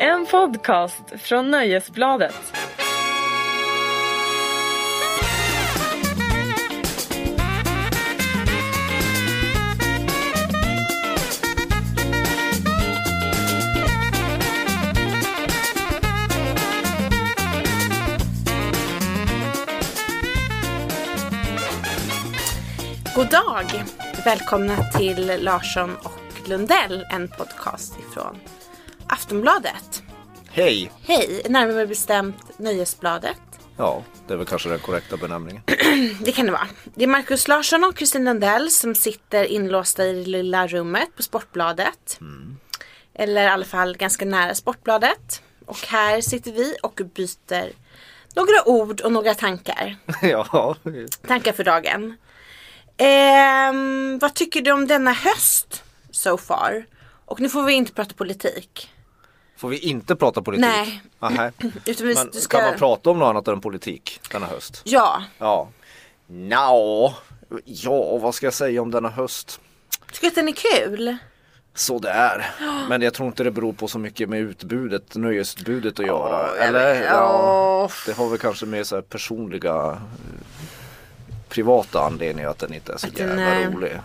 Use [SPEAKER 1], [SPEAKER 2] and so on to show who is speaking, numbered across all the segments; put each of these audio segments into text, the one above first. [SPEAKER 1] En podcast från Nöjesbladet.
[SPEAKER 2] God dag! Välkomna till Larsson och Lundell, en podcast ifrån Aftonbladet.
[SPEAKER 3] Hej!
[SPEAKER 2] Hej, närmare bestämt Nöjesbladet.
[SPEAKER 3] Ja, det är väl kanske den korrekta benämningen.
[SPEAKER 2] Det kan det vara. Det är Markus Larsson och Kristin Lundell som sitter inlåsta i det lilla rummet på Sportbladet. Eller i alla fall ganska nära Sportbladet. Och här sitter vi och byter några ord och några tankar.
[SPEAKER 3] ja,
[SPEAKER 2] Tankar för dagen. Ehm, vad tycker du om denna höst so far? Och nu får vi inte prata politik.
[SPEAKER 3] får vi inte prata politik?
[SPEAKER 2] Nej.
[SPEAKER 3] Aha.
[SPEAKER 2] Utan vi,
[SPEAKER 3] Men
[SPEAKER 2] du ska...
[SPEAKER 3] kan man prata om något annat än politik denna höst?
[SPEAKER 2] Ja.
[SPEAKER 3] Ja. Nja, ja vad ska jag säga om denna höst?
[SPEAKER 2] Tycker att den är kul?
[SPEAKER 3] Sådär. Men jag tror inte det beror på så mycket med utbudet, nöjesutbudet att göra.
[SPEAKER 2] jag
[SPEAKER 3] Eller?
[SPEAKER 2] vet-
[SPEAKER 3] Eh, Ja,
[SPEAKER 2] åh.
[SPEAKER 3] det har väl kanske mer så här personliga eh, privata anledningar att den inte är så
[SPEAKER 2] Att den är-
[SPEAKER 3] jävla rolig.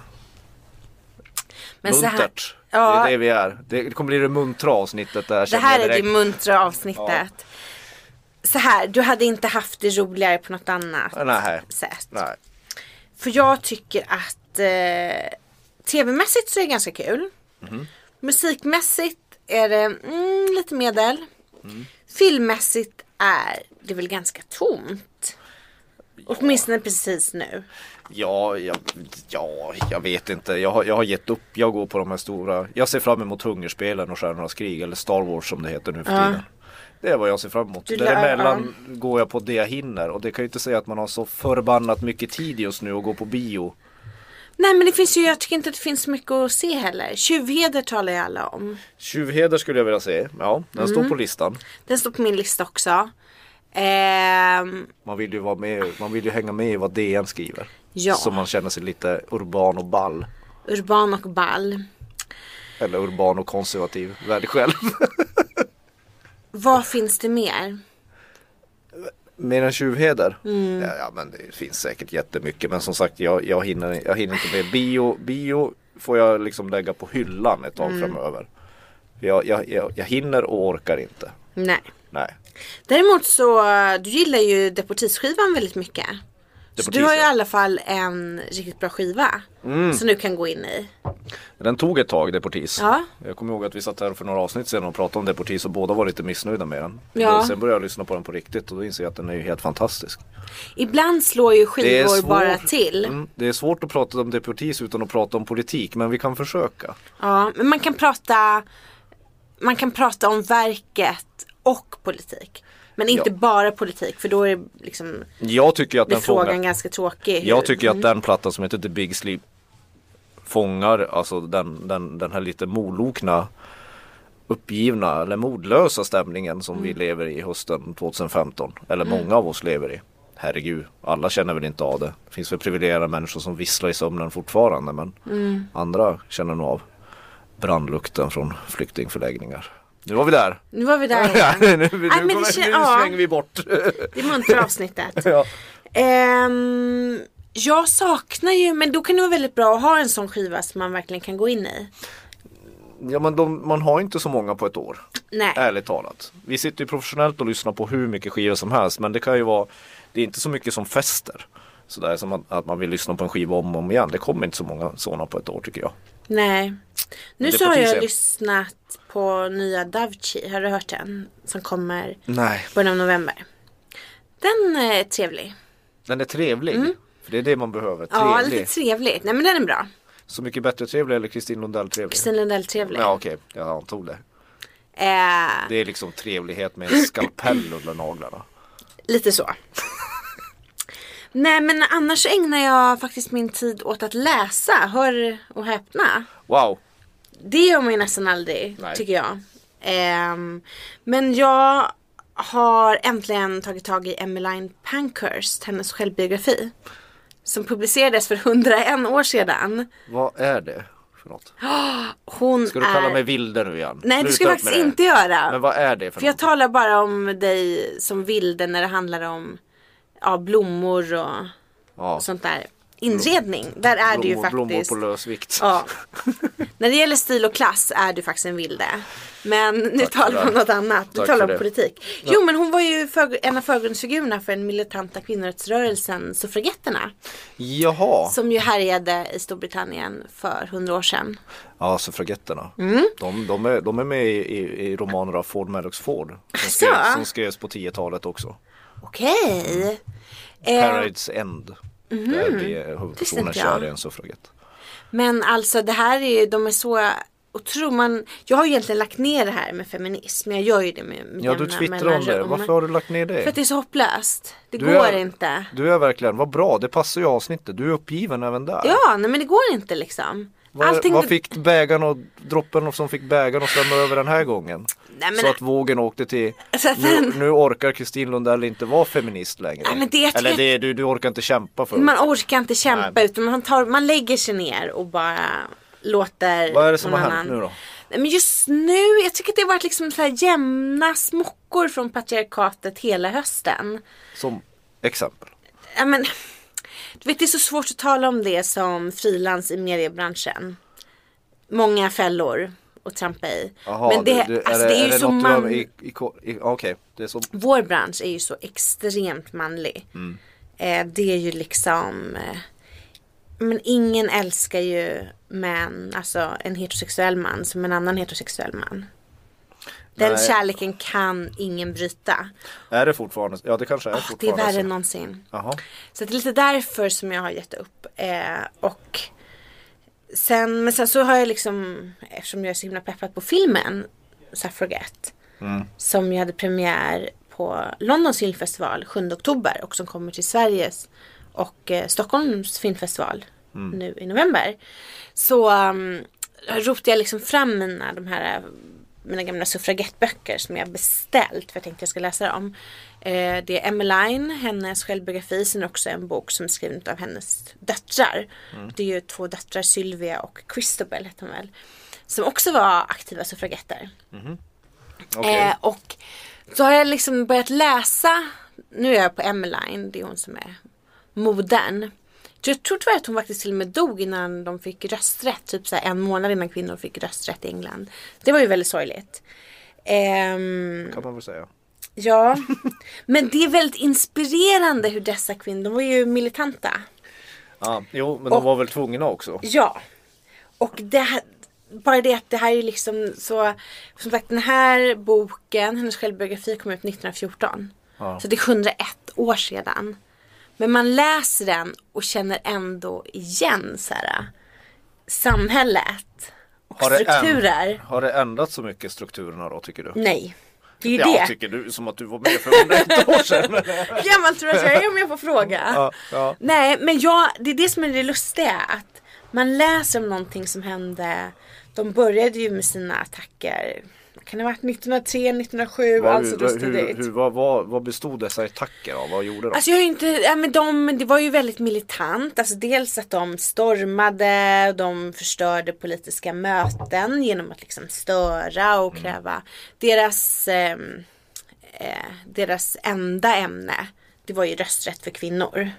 [SPEAKER 2] Men så här,
[SPEAKER 3] Muntert. Det
[SPEAKER 2] ja,
[SPEAKER 3] är det vi är. Det kommer bli det muntra avsnittet där
[SPEAKER 2] det
[SPEAKER 3] känner jag
[SPEAKER 2] här är
[SPEAKER 3] direkt.
[SPEAKER 2] det muntra avsnittet. Så här, du hade inte haft det roligare på något annat
[SPEAKER 3] Nej.
[SPEAKER 2] sätt.
[SPEAKER 3] Nej.
[SPEAKER 2] För jag tycker att eh, tv-mässigt så är det ganska kul. Musikmässigt är det mm, lite medel. Filmmässigt är det väl ganska tomt. Åtminstone precis nu.
[SPEAKER 3] Ja, jag, ja, jag vet inte. Jag har, jag har gett upp. Jag går på de här stora. Jag ser fram emot Hungerspelen och Stjärnornas krig eller Star Wars som det heter nu för tiden. Det är vad jag ser fram emot.
[SPEAKER 2] Du lär-
[SPEAKER 3] Däremellan går jag på det jag hinner och det kan ju inte säga att man har så förbannat mycket tid just nu att gå på bio.
[SPEAKER 2] Nej men det finns ju, jag tycker inte att det finns så mycket att se heller. Tjuvheder talar ju alla om.
[SPEAKER 3] Tjuvheder skulle jag vilja se. Ja, den står på
[SPEAKER 2] Mm.
[SPEAKER 3] listan.
[SPEAKER 2] Den står på min lista också. Ehm,
[SPEAKER 3] Man vill ju vara med, man vill ju hänga med i vad DN skriver.
[SPEAKER 2] Ja.
[SPEAKER 3] Så man känner sig lite urban och ball.
[SPEAKER 2] urban och ball.
[SPEAKER 3] Eller urban och konservativ. Välj själv.
[SPEAKER 2] Vad finns det mer?
[SPEAKER 3] Mer än tjuvheder?
[SPEAKER 2] Mm.
[SPEAKER 3] Ja, ja men det finns säkert jättemycket men som sagt jag, jag, hinner, jag hinner inte med. Bio, bio får jag liksom lägga på hyllan ett
[SPEAKER 2] Mm.
[SPEAKER 3] tag framöver. Jag, jag, jag, jag hinner och orkar inte.
[SPEAKER 2] Nej.
[SPEAKER 3] Nej.
[SPEAKER 2] Däremot så, eh, du gillar ju Deportisskivan väldigt mycket. Så
[SPEAKER 3] Deportis,
[SPEAKER 2] du har ju i
[SPEAKER 3] ja.
[SPEAKER 2] alla fall en riktigt bra skiva.
[SPEAKER 3] Mm.
[SPEAKER 2] Som du kan gå in i.
[SPEAKER 3] Den tog ett tag Deportis.
[SPEAKER 2] Ja.
[SPEAKER 3] Jag kommer ihåg att vi satt här för några avsnitt sedan och pratade om Deportis och båda var lite missnöjda med den.
[SPEAKER 2] Ja.
[SPEAKER 3] Sen började jag lyssna på den på riktigt och då inser jag att den är ju helt fantastisk.
[SPEAKER 2] Ibland slår ju
[SPEAKER 3] Det är
[SPEAKER 2] skivor
[SPEAKER 3] svårt-
[SPEAKER 2] bara till.
[SPEAKER 3] Mm, det är svårt att prata om Deportis utan att prata om politik men vi kan försöka.
[SPEAKER 2] Ja, men man kan prata Man kan prata om verket och politik. Men inte
[SPEAKER 3] Ja.
[SPEAKER 2] bara politik för då är det liksom
[SPEAKER 3] Jag tycker att
[SPEAKER 2] blir
[SPEAKER 3] den
[SPEAKER 2] frågan Mm.
[SPEAKER 3] fångar
[SPEAKER 2] ganska tråkig.
[SPEAKER 3] Jag tycker att den plattan som heter The Big Sleep fångar alltså den, den, den här lite molokna uppgivna eller modlösa stämningen som
[SPEAKER 2] Mm.
[SPEAKER 3] vi lever i hösten 2015. Eller många av oss lever i. Herregud, alla känner väl inte av det. Det finns väl privilegierade människor som visslar i sömnen fortfarande men
[SPEAKER 2] Mm.
[SPEAKER 3] andra känner nog av brandlukten från flyktingförläggningar. Nu var vi där!
[SPEAKER 2] Nu var vi där igen.
[SPEAKER 3] Ja, nu nu,
[SPEAKER 2] men det
[SPEAKER 3] kommer,
[SPEAKER 2] kän-
[SPEAKER 3] nu
[SPEAKER 2] ja.
[SPEAKER 3] svänger vi bort.
[SPEAKER 2] Det muntrar avsnittet.
[SPEAKER 3] ja.
[SPEAKER 2] Ehm, jag saknar ju, men då kan det vara väldigt bra att ha en sån skiva som man verkligen kan gå in i.
[SPEAKER 3] ja men de, man har inte så många på ett år.
[SPEAKER 2] Nej.
[SPEAKER 3] Ärligt talat. Vi sitter ju professionellt och lyssnar på hur mycket skivor som helst men det kan ju vara Det är inte så mycket som fäster. Sådär som att, att man vill lyssna på en skiva om och om igen. Det kommer inte så många sådana på ett år tycker jag.
[SPEAKER 2] Nej. Nu
[SPEAKER 3] det
[SPEAKER 2] så
[SPEAKER 3] är
[SPEAKER 2] har
[SPEAKER 3] på
[SPEAKER 2] jag
[SPEAKER 3] tisdag.
[SPEAKER 2] lyssnat på nya Avicii. Har du hört den? Som kommer
[SPEAKER 3] Nej.
[SPEAKER 2] början av november. Den är trevlig.
[SPEAKER 3] Den är trevlig. För det är det man behöver.
[SPEAKER 2] Mm. Ja,
[SPEAKER 3] Trevlig.
[SPEAKER 2] lite trevlig. Nej men den är bra.
[SPEAKER 3] Så mycket bättre trevlig eller Kristin Lundell trevlig?
[SPEAKER 2] Kristin Lundell trevlig.
[SPEAKER 3] Ja okej, jag antog det.
[SPEAKER 2] Eh,
[SPEAKER 3] Det är liksom trevlighet med en skalpell under naglarna.
[SPEAKER 2] lite så. Nej men annars så ägnar jag faktiskt min tid åt att läsa. Hör och häpna.
[SPEAKER 3] Wow!
[SPEAKER 2] Det gör man ju nästan aldrig
[SPEAKER 3] Nej.
[SPEAKER 2] tycker jag. Ehm, men jag har äntligen tagit tag i Emmeline Pankhurst, hennes självbiografi. Som publicerades för 101 år sedan.
[SPEAKER 3] Vad är det? för något?
[SPEAKER 2] Hon
[SPEAKER 3] Ska du
[SPEAKER 2] är...
[SPEAKER 3] kalla mig vilde nu igen?
[SPEAKER 2] Äh. Nej det ska jag
[SPEAKER 3] Sluta upp
[SPEAKER 2] faktiskt
[SPEAKER 3] med
[SPEAKER 2] inte
[SPEAKER 3] det.
[SPEAKER 2] göra.
[SPEAKER 3] Men vad är det för,
[SPEAKER 2] För jag
[SPEAKER 3] någonting?
[SPEAKER 2] talar bara om dig som vilde när det handlar om ja, blommor och
[SPEAKER 3] Ja.
[SPEAKER 2] sånt där. Inredning, där är du ju
[SPEAKER 3] Blommor, blommor
[SPEAKER 2] faktiskt.
[SPEAKER 3] på lös vikt.
[SPEAKER 2] Ja. När det gäller stil och klass är du faktiskt en vilde. Men nu
[SPEAKER 3] Tack
[SPEAKER 2] talar
[SPEAKER 3] för
[SPEAKER 2] vi om
[SPEAKER 3] det.
[SPEAKER 2] något annat. Du
[SPEAKER 3] Tack
[SPEAKER 2] talar
[SPEAKER 3] för
[SPEAKER 2] om
[SPEAKER 3] det.
[SPEAKER 2] politik. Jo men hon var ju för, en av förgrundsfigurerna för den militanta kvinnorättsrörelsen Suffragetterna.
[SPEAKER 3] Jaha.
[SPEAKER 2] Som ju härjade i Storbritannien för hundra år sedan.
[SPEAKER 3] Ja, suffragetterna.
[SPEAKER 2] Mm.
[SPEAKER 3] De, de, är, de är med i, i, i romaner av Ford Madox Ford. Som,
[SPEAKER 2] Asså?
[SPEAKER 3] skrevs, som skrevs på 10-talet också.
[SPEAKER 2] Okej. Eh, Mhm.
[SPEAKER 3] Parade's End. Där blir huvudpersonen
[SPEAKER 2] inte jag.
[SPEAKER 3] kär i en suffragett.
[SPEAKER 2] Men alltså det här är ju, de är så otroligt, man, jag har ju egentligen lagt ner det här med feminism. Jag gör ju det med, med
[SPEAKER 3] Ja, du
[SPEAKER 2] jämna
[SPEAKER 3] twittrar om det.
[SPEAKER 2] mellanrum.
[SPEAKER 3] Varför har du lagt ner
[SPEAKER 2] För att det
[SPEAKER 3] det?
[SPEAKER 2] är så hopplöst. Det
[SPEAKER 3] Du
[SPEAKER 2] går
[SPEAKER 3] är-
[SPEAKER 2] inte.
[SPEAKER 3] Du är verkligen, vad bra, det passar ju avsnittet. Du är uppgiven även där.
[SPEAKER 2] Ja, nej men det går inte liksom.
[SPEAKER 3] Vad, vad fick bägaren och droppen som fick bägaren att svämma över den här gången?
[SPEAKER 2] Nej, men-
[SPEAKER 3] så att vågen åkte till
[SPEAKER 2] Så att
[SPEAKER 3] nu,
[SPEAKER 2] den-
[SPEAKER 3] nu orkar Kristin Lundell inte vara feminist längre.
[SPEAKER 2] Nej, men det-
[SPEAKER 3] Eller det, du, du orkar inte kämpa för
[SPEAKER 2] Man orkar inte kämpa
[SPEAKER 3] Nej.
[SPEAKER 2] utan man, tar, man lägger sig ner och bara låter
[SPEAKER 3] Vad är det som
[SPEAKER 2] någon
[SPEAKER 3] har hänt
[SPEAKER 2] annan-
[SPEAKER 3] nu då?
[SPEAKER 2] Nej, Men just nu, jag tycker att det har varit liksom så här jämna smockor från patriarkatet hela hösten.
[SPEAKER 3] Som exempel.
[SPEAKER 2] Ja, men, du vet, det är så svårt att tala om det som frilans i mediebranschen. Många fällor att trampa i.
[SPEAKER 3] Jaha,
[SPEAKER 2] men det,
[SPEAKER 3] du- du-
[SPEAKER 2] alltså, det, är ju så
[SPEAKER 3] något du har-
[SPEAKER 2] man...
[SPEAKER 3] i- i- i- Okej, det är så.
[SPEAKER 2] Vår bransch är ju så extremt manlig. Eh, det är ju liksom... Eh, men ingen älskar ju män, alltså en heterosexuell man som en annan heterosexuell man. Den
[SPEAKER 3] Nej.
[SPEAKER 2] kärleken kan ingen bryta.
[SPEAKER 3] Är det fortfarande? Ja det kanske är
[SPEAKER 2] Ah, det är
[SPEAKER 3] fortfarande
[SPEAKER 2] värre
[SPEAKER 3] så.
[SPEAKER 2] än någonsin.
[SPEAKER 3] Jaha.
[SPEAKER 2] Så det är lite därför som jag har gett upp. Eh, och sen, men sen så har jag liksom, eftersom jag är så himla peppad på filmen Suffragette. Som ju hade premiär på Londons filmfestival 7 oktober och som kommer till Sveriges och eh, Stockholms filmfestival nu i november. Så um, rotade jag liksom fram mina, de här, mina gamla suffragettböcker som jag beställt för jag tänkte jag ska läsa dem. Eh, det är Emmeline, hennes självbiografi, sen också en bok som är skriven av hennes döttrar. Det är ju två döttrar, Sylvia och Christobel heter de väl. Som också var aktiva suffragetter.
[SPEAKER 3] Okej.
[SPEAKER 2] Eh, och så har jag liksom börjat läsa. Nu är jag på Emmeline, det är hon som är modern. Så jag tror tyvärr att hon faktiskt till och med dog innan de fick rösträtt. Typ så här en månad innan kvinnor fick rösträtt i England. Det var ju väldigt sorgligt. Ehm,
[SPEAKER 3] Kan man väl säga.
[SPEAKER 2] ja, men det är väldigt inspirerande hur dessa kvinnor, de var ju militanta.
[SPEAKER 3] Ja, jo men de var väl tvungna också.
[SPEAKER 2] Ja. Och det här, bara det att det här är liksom så. Som sagt den här boken, hennes självbiografi kom ut 1914.
[SPEAKER 3] Ja.
[SPEAKER 2] Så det är 101 år sedan. Men man läser den och känner ändå igen så här, samhället. Och
[SPEAKER 3] Har det än-
[SPEAKER 2] strukturer.
[SPEAKER 3] Har det ändrat så mycket strukturerna då tycker du?
[SPEAKER 2] Nej. Det är ju
[SPEAKER 3] Ja,
[SPEAKER 2] det.
[SPEAKER 3] tycker du som att du var med för 101 år sedan.
[SPEAKER 2] Hur gammal tror du att jag är om jag får fråga?
[SPEAKER 3] Ja, ja.
[SPEAKER 2] Nej, men jag, det är det som är det lustiga. Att man läser om någonting som hände. De började ju med sina attacker. Vad Kan det ha varit 1903, 1907?
[SPEAKER 3] Vad-
[SPEAKER 2] alltså då
[SPEAKER 3] hur, hur,
[SPEAKER 2] stod
[SPEAKER 3] hur, vad, vad, vad bestod dessa attacker av? Vad gjorde de?
[SPEAKER 2] Alltså jag har ju inte, ja, men de, det var ju väldigt militant. Alltså dels att de stormade, de förstörde politiska möten genom att liksom störa
[SPEAKER 3] Mm.
[SPEAKER 2] och kräva. Deras, eh, eh, deras enda ämne, det var ju rösträtt för kvinnor.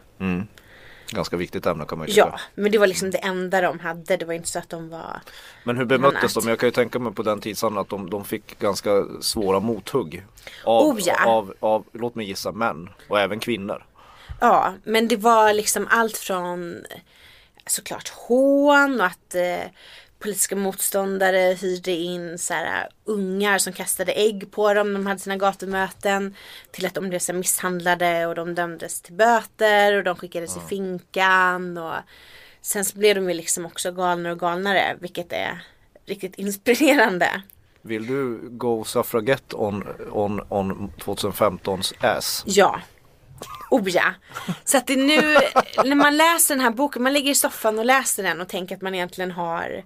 [SPEAKER 3] Ganska viktigt ämne kan man ju tycka.
[SPEAKER 2] Ja, men det var liksom det enda de hade. Det var inte så att de var...
[SPEAKER 3] Men hur bemöttes
[SPEAKER 2] Annat.
[SPEAKER 3] de? Jag kan ju tänka mig på den tidsandan att de, de fick ganska svåra mothugg. Av,
[SPEAKER 2] Oh, ja.
[SPEAKER 3] av, av, låt mig gissa, män och även kvinnor.
[SPEAKER 2] Ja, men det var liksom allt från eh, såklart hån och att eh, politiska motståndare hyrde in så här, eh, ungar som kastade ägg på dem när de hade sina gatumöten. Till att de blev så här, misshandlade och de dömdes till böter och de skickades i finkan. Och sen så blev de ju liksom också galnare och galnare vilket är riktigt inspirerande.
[SPEAKER 3] Vill du go suffragette on, on, on 2015s ass?
[SPEAKER 2] Ja. Oh ja. Så att det nu, när man läser den här boken, man ligger i soffan och läser den och tänker att man egentligen har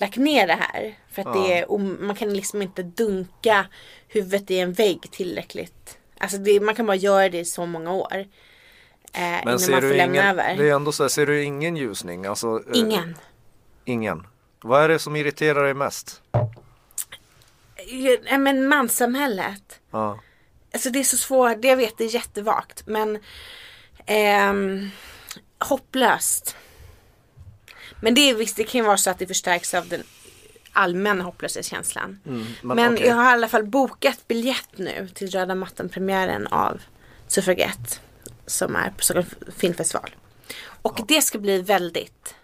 [SPEAKER 2] lagt ner det här. För att det är, om- man kan liksom inte dunka huvudet i en vägg tillräckligt. Alltså det, man kan bara göra det i så många år. Eh, innan man får lämna
[SPEAKER 3] ingen,
[SPEAKER 2] över.
[SPEAKER 3] det är ändå så här, ser du ingen ljusning? Alltså, eh,
[SPEAKER 2] Ingen.
[SPEAKER 3] Ingen. Vad är det som irriterar dig mest?
[SPEAKER 2] Ju- Eh, nej, Men manssamhället.
[SPEAKER 3] Ja.
[SPEAKER 2] Alltså det är så svårt, det jag vet det är jättevagt men ehm, hopplöst. Men det är visst, det kan ju vara så att det förstärks av den allmänna hopplöshetskänslan.
[SPEAKER 3] men
[SPEAKER 2] men
[SPEAKER 3] okej.
[SPEAKER 2] jag har i alla fall bokat biljett nu till röda mattan-premiären av Suffragette som är på Stockholms filmfestival. Och det ska bli väldigt,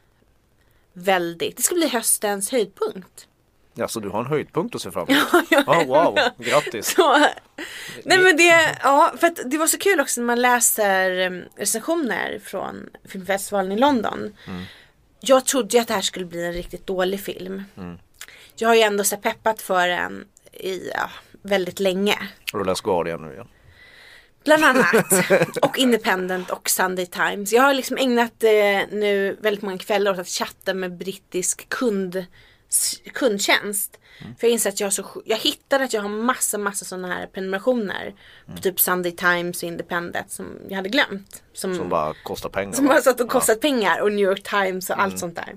[SPEAKER 2] väldigt, det ska bli höstens höjdpunkt.
[SPEAKER 3] ja, så du har en höjdpunkt att se fram emot? Ja, wow, grattis!
[SPEAKER 2] Så, nej men det, ja för att det var så kul också när man läser em, recensioner från filmfestivalen i London. Jag trodde ju att det här skulle bli en riktigt dålig film. Jag har ju ändå så här peppat för den i ja, väldigt länge.
[SPEAKER 3] Har du läst Guardian nu igen?
[SPEAKER 2] Bland annat. Och Independent och Sunday Times. Jag har liksom ägnat eh, nu väldigt många kvällar åt att chatta med brittisk kund, s- kundtjänst. För jag inser att jag, har så, sj- jag hittade att jag har massa, massa sådana här prenumerationer. På typ Sunday Times och Independent som jag hade glömt. Som,
[SPEAKER 3] Som bara kostar pengar?
[SPEAKER 2] som
[SPEAKER 3] va?
[SPEAKER 2] har satt och kostat pengar och New York Times och allt sånt där.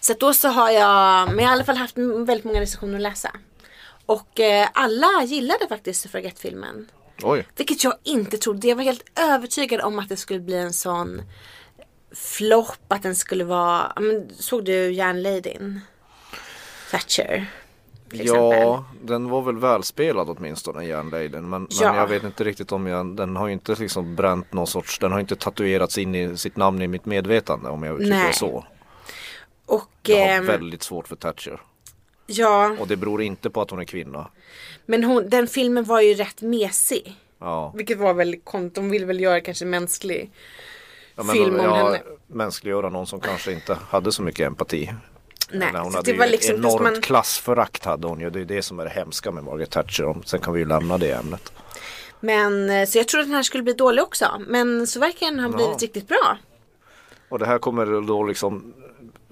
[SPEAKER 2] Så att då så har jag, men jag har i alla fall haft m- väldigt många recensioner att läsa. Och eh, alla gillade faktiskt Suffragette-filmen.
[SPEAKER 3] Oj,
[SPEAKER 2] Vilket jag inte trodde. Jag var helt övertygad om att det skulle bli en sån flopp. Att den skulle vara, ja, men, såg du järnladyn? Thatcher. till
[SPEAKER 3] ja
[SPEAKER 2] exempel.
[SPEAKER 3] den var väl välspelad åtminstone, Järnladyn. Men,
[SPEAKER 2] Ja.
[SPEAKER 3] men jag vet inte riktigt om jag, den har ju inte liksom bränt någon sorts, den har inte tatuerats in i sitt namn i mitt medvetande om jag uttrycker
[SPEAKER 2] Nej.
[SPEAKER 3] det så.
[SPEAKER 2] Och
[SPEAKER 3] Jag har
[SPEAKER 2] ehm,
[SPEAKER 3] väldigt svårt för Thatcher.
[SPEAKER 2] ja,
[SPEAKER 3] Och det beror inte på att hon är kvinna.
[SPEAKER 2] men hon, den filmen var ju rätt mesig.
[SPEAKER 3] Ja.
[SPEAKER 2] Vilket var väl konstigt. De ville väl göra kanske mänsklig.
[SPEAKER 3] Ja,
[SPEAKER 2] film om henne.
[SPEAKER 3] Mänskliggöra någon som kanske inte hade så mycket empati.
[SPEAKER 2] Nej,
[SPEAKER 3] Eller hon
[SPEAKER 2] så
[SPEAKER 3] hade
[SPEAKER 2] det
[SPEAKER 3] ju
[SPEAKER 2] var
[SPEAKER 3] ett
[SPEAKER 2] liksom- fast
[SPEAKER 3] enormt
[SPEAKER 2] man-
[SPEAKER 3] klassförakt hade hon ju. Det är det som är det hemska med Margaret Thatcher. Om- Sen kan vi ju lämna det ämnet.
[SPEAKER 2] Men eh, så jag trodde att den här skulle bli dålig också. Men så verkar den ha blivit riktigt bra.
[SPEAKER 3] Och det här kommer då liksom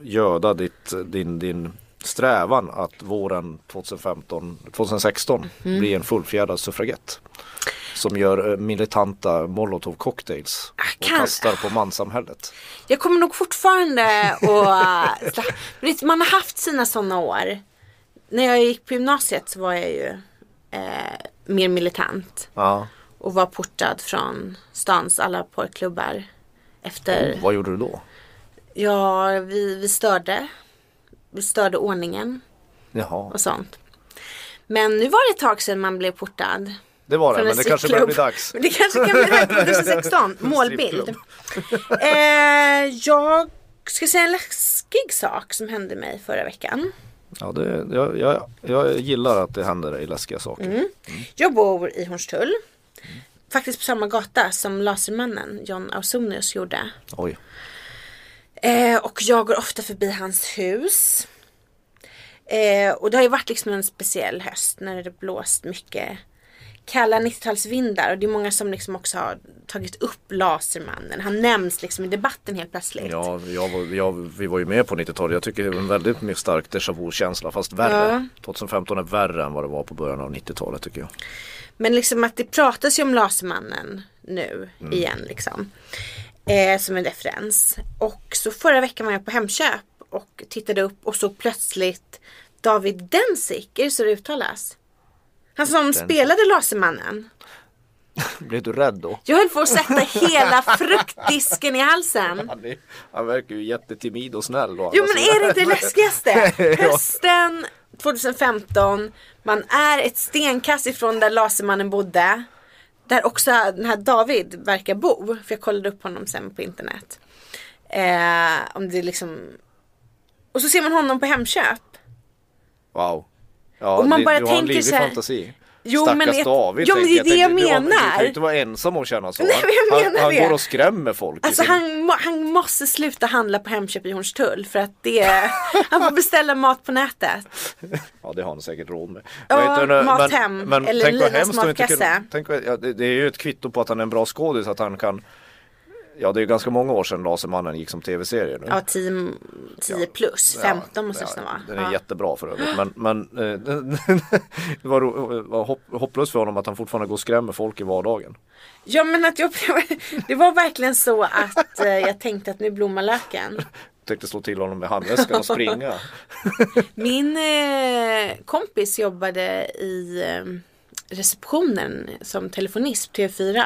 [SPEAKER 3] göda ditt, din, din strävan att våren 2015, 2016
[SPEAKER 2] Mm.
[SPEAKER 3] bli en fullfjädrad suffragett. Som gör eh, militanta molotovcocktails och
[SPEAKER 2] Ah, kan-
[SPEAKER 3] kastar på manssamhället.
[SPEAKER 2] Jag kommer nog fortfarande äh, att slapp- Vet, Man har haft sina sådana år. När jag gick på gymnasiet så var jag ju eh, mer militant.
[SPEAKER 3] Ja.
[SPEAKER 2] Och var portad från stans alla porrklubbar. Efter,
[SPEAKER 3] Vad gjorde du då?
[SPEAKER 2] ja vi, vi störde. Vi störde ordningen
[SPEAKER 3] Jaha.
[SPEAKER 2] och sånt. Men nu var det ett tag sedan man blev portad.
[SPEAKER 3] Det var det,
[SPEAKER 2] Från
[SPEAKER 3] men
[SPEAKER 2] en
[SPEAKER 3] det kanske börjar bli
[SPEAKER 2] strippklubb.
[SPEAKER 3] dags.
[SPEAKER 2] Men det kanske kan bli dags 2016. Målbild.
[SPEAKER 3] Strippklubb.
[SPEAKER 2] Eh, jag ska säga en läskig sak som hände mig förra veckan.
[SPEAKER 3] Ja, det, jag, jag, jag gillar att det händer dig läskiga saker.
[SPEAKER 2] Mm. Jag bor i Hornstull. Faktiskt på samma gata som Lasermannen John Ausonius gjorde.
[SPEAKER 3] Oj.
[SPEAKER 2] Eh, och jag går ofta förbi hans hus. Eh, och det har ju varit liksom en speciell höst när det blåst mycket kalla 90-talsvindar och det är många som liksom också har tagit upp Lasermannen. Han nämns liksom i debatten helt plötsligt.
[SPEAKER 3] Ja, jag, var- jag, vi var ju med på 90-talet. Jag tycker det var en väldigt mycket stark déjà vu-känsla. Fast värre.
[SPEAKER 2] Ja.
[SPEAKER 3] 2015 är värre än vad det var på början av 90-talet tycker jag.
[SPEAKER 2] Men liksom att det pratas ju om Lasermannen nu igen liksom. Eh, som en referens. Och så förra veckan var jag på Hemköp och tittade upp och såg plötsligt David Densik, är det så det uttalas? Han som spelade Lasermannen.
[SPEAKER 3] Blev du rädd då?
[SPEAKER 2] Jag höll på att sätta hela fruktdisken i halsen.
[SPEAKER 3] Han, är, han verkar ju jättetimid och snäll. Då, Alltså,
[SPEAKER 2] Jo men är det inte det läskigaste?
[SPEAKER 3] Ja.
[SPEAKER 2] Hösten 2015, man är ett stenkast ifrån där Lasermannen bodde. Där också den här David verkar bo, för jag kollade upp honom sen på internet. Eh, om det liksom... Och så ser man honom på Hemköp.
[SPEAKER 3] Wow. Ja,
[SPEAKER 2] Och man
[SPEAKER 3] det,
[SPEAKER 2] bara
[SPEAKER 3] du har en
[SPEAKER 2] tänker
[SPEAKER 3] livlig
[SPEAKER 2] så här-
[SPEAKER 3] fantasi.
[SPEAKER 2] Jo,
[SPEAKER 3] Stackars
[SPEAKER 2] men ett-
[SPEAKER 3] David
[SPEAKER 2] Ja, men
[SPEAKER 3] tänker
[SPEAKER 2] det är det
[SPEAKER 3] tänker,
[SPEAKER 2] jag
[SPEAKER 3] du har- Du kan
[SPEAKER 2] menar.
[SPEAKER 3] ju inte vara ensam och känna så.
[SPEAKER 2] Nej, men jag
[SPEAKER 3] han,
[SPEAKER 2] menar
[SPEAKER 3] han
[SPEAKER 2] det.
[SPEAKER 3] går och skrämmer folk. i
[SPEAKER 2] Alltså
[SPEAKER 3] sin-
[SPEAKER 2] han, må- han måste sluta handla på Hemköp i Hornstull för att det är... Han får beställa mat på nätet.
[SPEAKER 3] Ja det har han säkert råd med.
[SPEAKER 2] Ja,
[SPEAKER 3] Vad heter den?
[SPEAKER 2] Mathem, eller
[SPEAKER 3] tänk vad
[SPEAKER 2] Linas
[SPEAKER 3] hemskt att inte
[SPEAKER 2] matkasse.
[SPEAKER 3] kunna, tänk, vad- ja, det, det är ju ett kvitto på att han är en bra skådis att han kan Ja det är ju ganska många år sedan Lasermannen gick som tv-serie nu.
[SPEAKER 2] Ja 10, 10 plus, 15 måste det
[SPEAKER 3] Ja,
[SPEAKER 2] nästan vara.
[SPEAKER 3] Den är
[SPEAKER 2] Ja.
[SPEAKER 3] jättebra för övrigt men, men eh, det var, ro- var hopp, hopplöst för honom att han fortfarande går och skrämmer folk i vardagen.
[SPEAKER 2] Ja men att jag Det var verkligen så att eh, jag tänkte att nu blommar löken.
[SPEAKER 3] tänkte slå till honom med handväskan och springa.
[SPEAKER 2] Min eh, kompis jobbade i eh, receptionen som telefonist på TV4.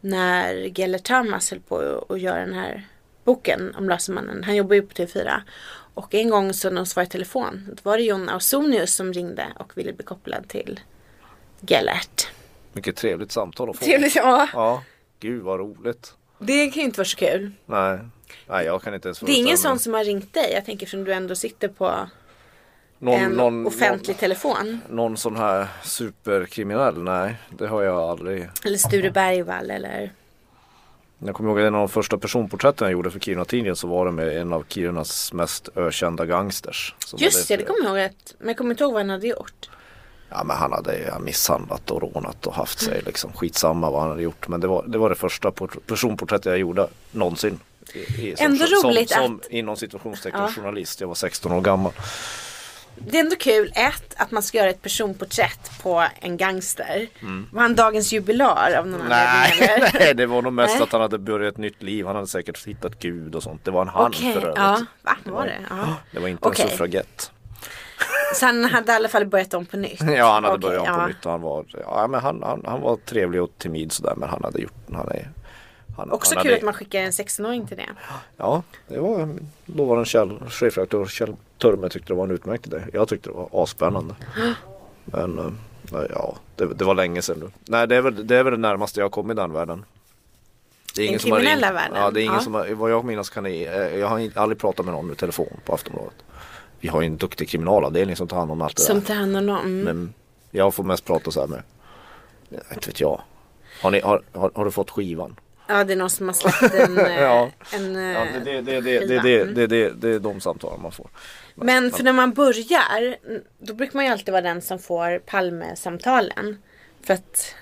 [SPEAKER 2] När Gellert Tamas höll på att göra den här boken om Lasermannen. Han jobbar ju på TV4. Och en gång så när de svarade i telefon. Då var det Jon Ausonius som ringde och ville bli kopplad till Gellert.
[SPEAKER 3] Mycket trevligt samtal att få.
[SPEAKER 2] Trevligt, ja.
[SPEAKER 3] Ja, gud vad roligt.
[SPEAKER 2] Det kan ju inte vara så kul.
[SPEAKER 3] Nej, nej jag kan inte ens
[SPEAKER 2] Det är ingen
[SPEAKER 3] föreställa
[SPEAKER 2] sån
[SPEAKER 3] mig.
[SPEAKER 2] som har ringt dig. Jag tänker som du ändå sitter på
[SPEAKER 3] någon,
[SPEAKER 2] en
[SPEAKER 3] någon,
[SPEAKER 2] offentlig telefon.
[SPEAKER 3] någon, någon sån här superkriminell, nej det har jag aldrig.
[SPEAKER 2] Eller Sture Bergvall eller
[SPEAKER 3] Jag kommer ihåg en av de första personporträtten jag gjorde för Kiruna-tidningen så var det med en av Kirunas mest ökända gangsters. Så
[SPEAKER 2] Just det, det kommer jag ihåg. Att, men jag kommer inte ihåg vad han hade gjort.
[SPEAKER 3] Ja men han hade ju misshandlat och rånat och haft sig liksom skitsamma vad han hade gjort. Men det var det, var det första port- personporträtt jag gjorde någonsin. I, i, som,
[SPEAKER 2] Ändå
[SPEAKER 3] som,
[SPEAKER 2] roligt
[SPEAKER 3] som,
[SPEAKER 2] att-
[SPEAKER 3] som inom situationstecken
[SPEAKER 2] Ja.
[SPEAKER 3] journalist. Jag var 16 år gammal.
[SPEAKER 2] Det är ändå kul, ett, att man ska göra ett personporträtt på en gangster. Var han dagens jubilar av någon
[SPEAKER 3] Mm. Nej,
[SPEAKER 2] anledning? eller?
[SPEAKER 3] nej, det var nog mest
[SPEAKER 2] Nej.
[SPEAKER 3] att han hade börjat ett nytt liv. Han hade säkert hittat Gud och sånt. Det var en han
[SPEAKER 2] Okej,
[SPEAKER 3] för övrigt.
[SPEAKER 2] ja. Va, var det? Ja.
[SPEAKER 3] Det var inte
[SPEAKER 2] Okej.
[SPEAKER 3] en suffragett.
[SPEAKER 2] Så han hade i alla fall börjat om på nytt?
[SPEAKER 3] Ja, han hade
[SPEAKER 2] Okej,
[SPEAKER 3] börjat om på
[SPEAKER 2] ja.
[SPEAKER 3] nytt och han var, ja, men han, han, han var trevlig och timid sådär men han hade gjort, han är han,
[SPEAKER 2] Också
[SPEAKER 3] han
[SPEAKER 2] kul
[SPEAKER 3] hade,
[SPEAKER 2] att man skickar en 16-åring till det.
[SPEAKER 3] Ja, det var dåvarande Kjell, chefredaktör Kjell Törme tyckte det var en utmärkt idé. Jag tyckte det var asspännande. Men eh, nej, ja, det, det var länge sedan nu. Nej, det är, väl, det är väl det närmaste jag har kommit den världen. Det är
[SPEAKER 2] Den
[SPEAKER 3] har
[SPEAKER 2] kriminella
[SPEAKER 3] ringt-
[SPEAKER 2] världen?
[SPEAKER 3] Ja, det är ingen
[SPEAKER 2] Ja.
[SPEAKER 3] som har, vad jag minns kan ni, eh, jag har inte- aldrig pratat med någon i telefon på Aftonbladet. Vi har ju en duktig kriminalavdelning som tar hand om allt det
[SPEAKER 2] Som
[SPEAKER 3] där.
[SPEAKER 2] tar hand om dem.
[SPEAKER 3] Men jag får mest prata så här med, nej, inte vet jag. Har, ni, har, har, har du fått skivan?
[SPEAKER 2] Ja, det är någon som har släppt en... eh,
[SPEAKER 3] Ja.
[SPEAKER 2] en eh,
[SPEAKER 3] Ja, det, det, det, det, det,
[SPEAKER 2] skiva.
[SPEAKER 3] det, det, det, det är de samtalen man får.
[SPEAKER 2] Men för när man börjar, då brukar man ju alltid vara den som får Palmesamtalen. För att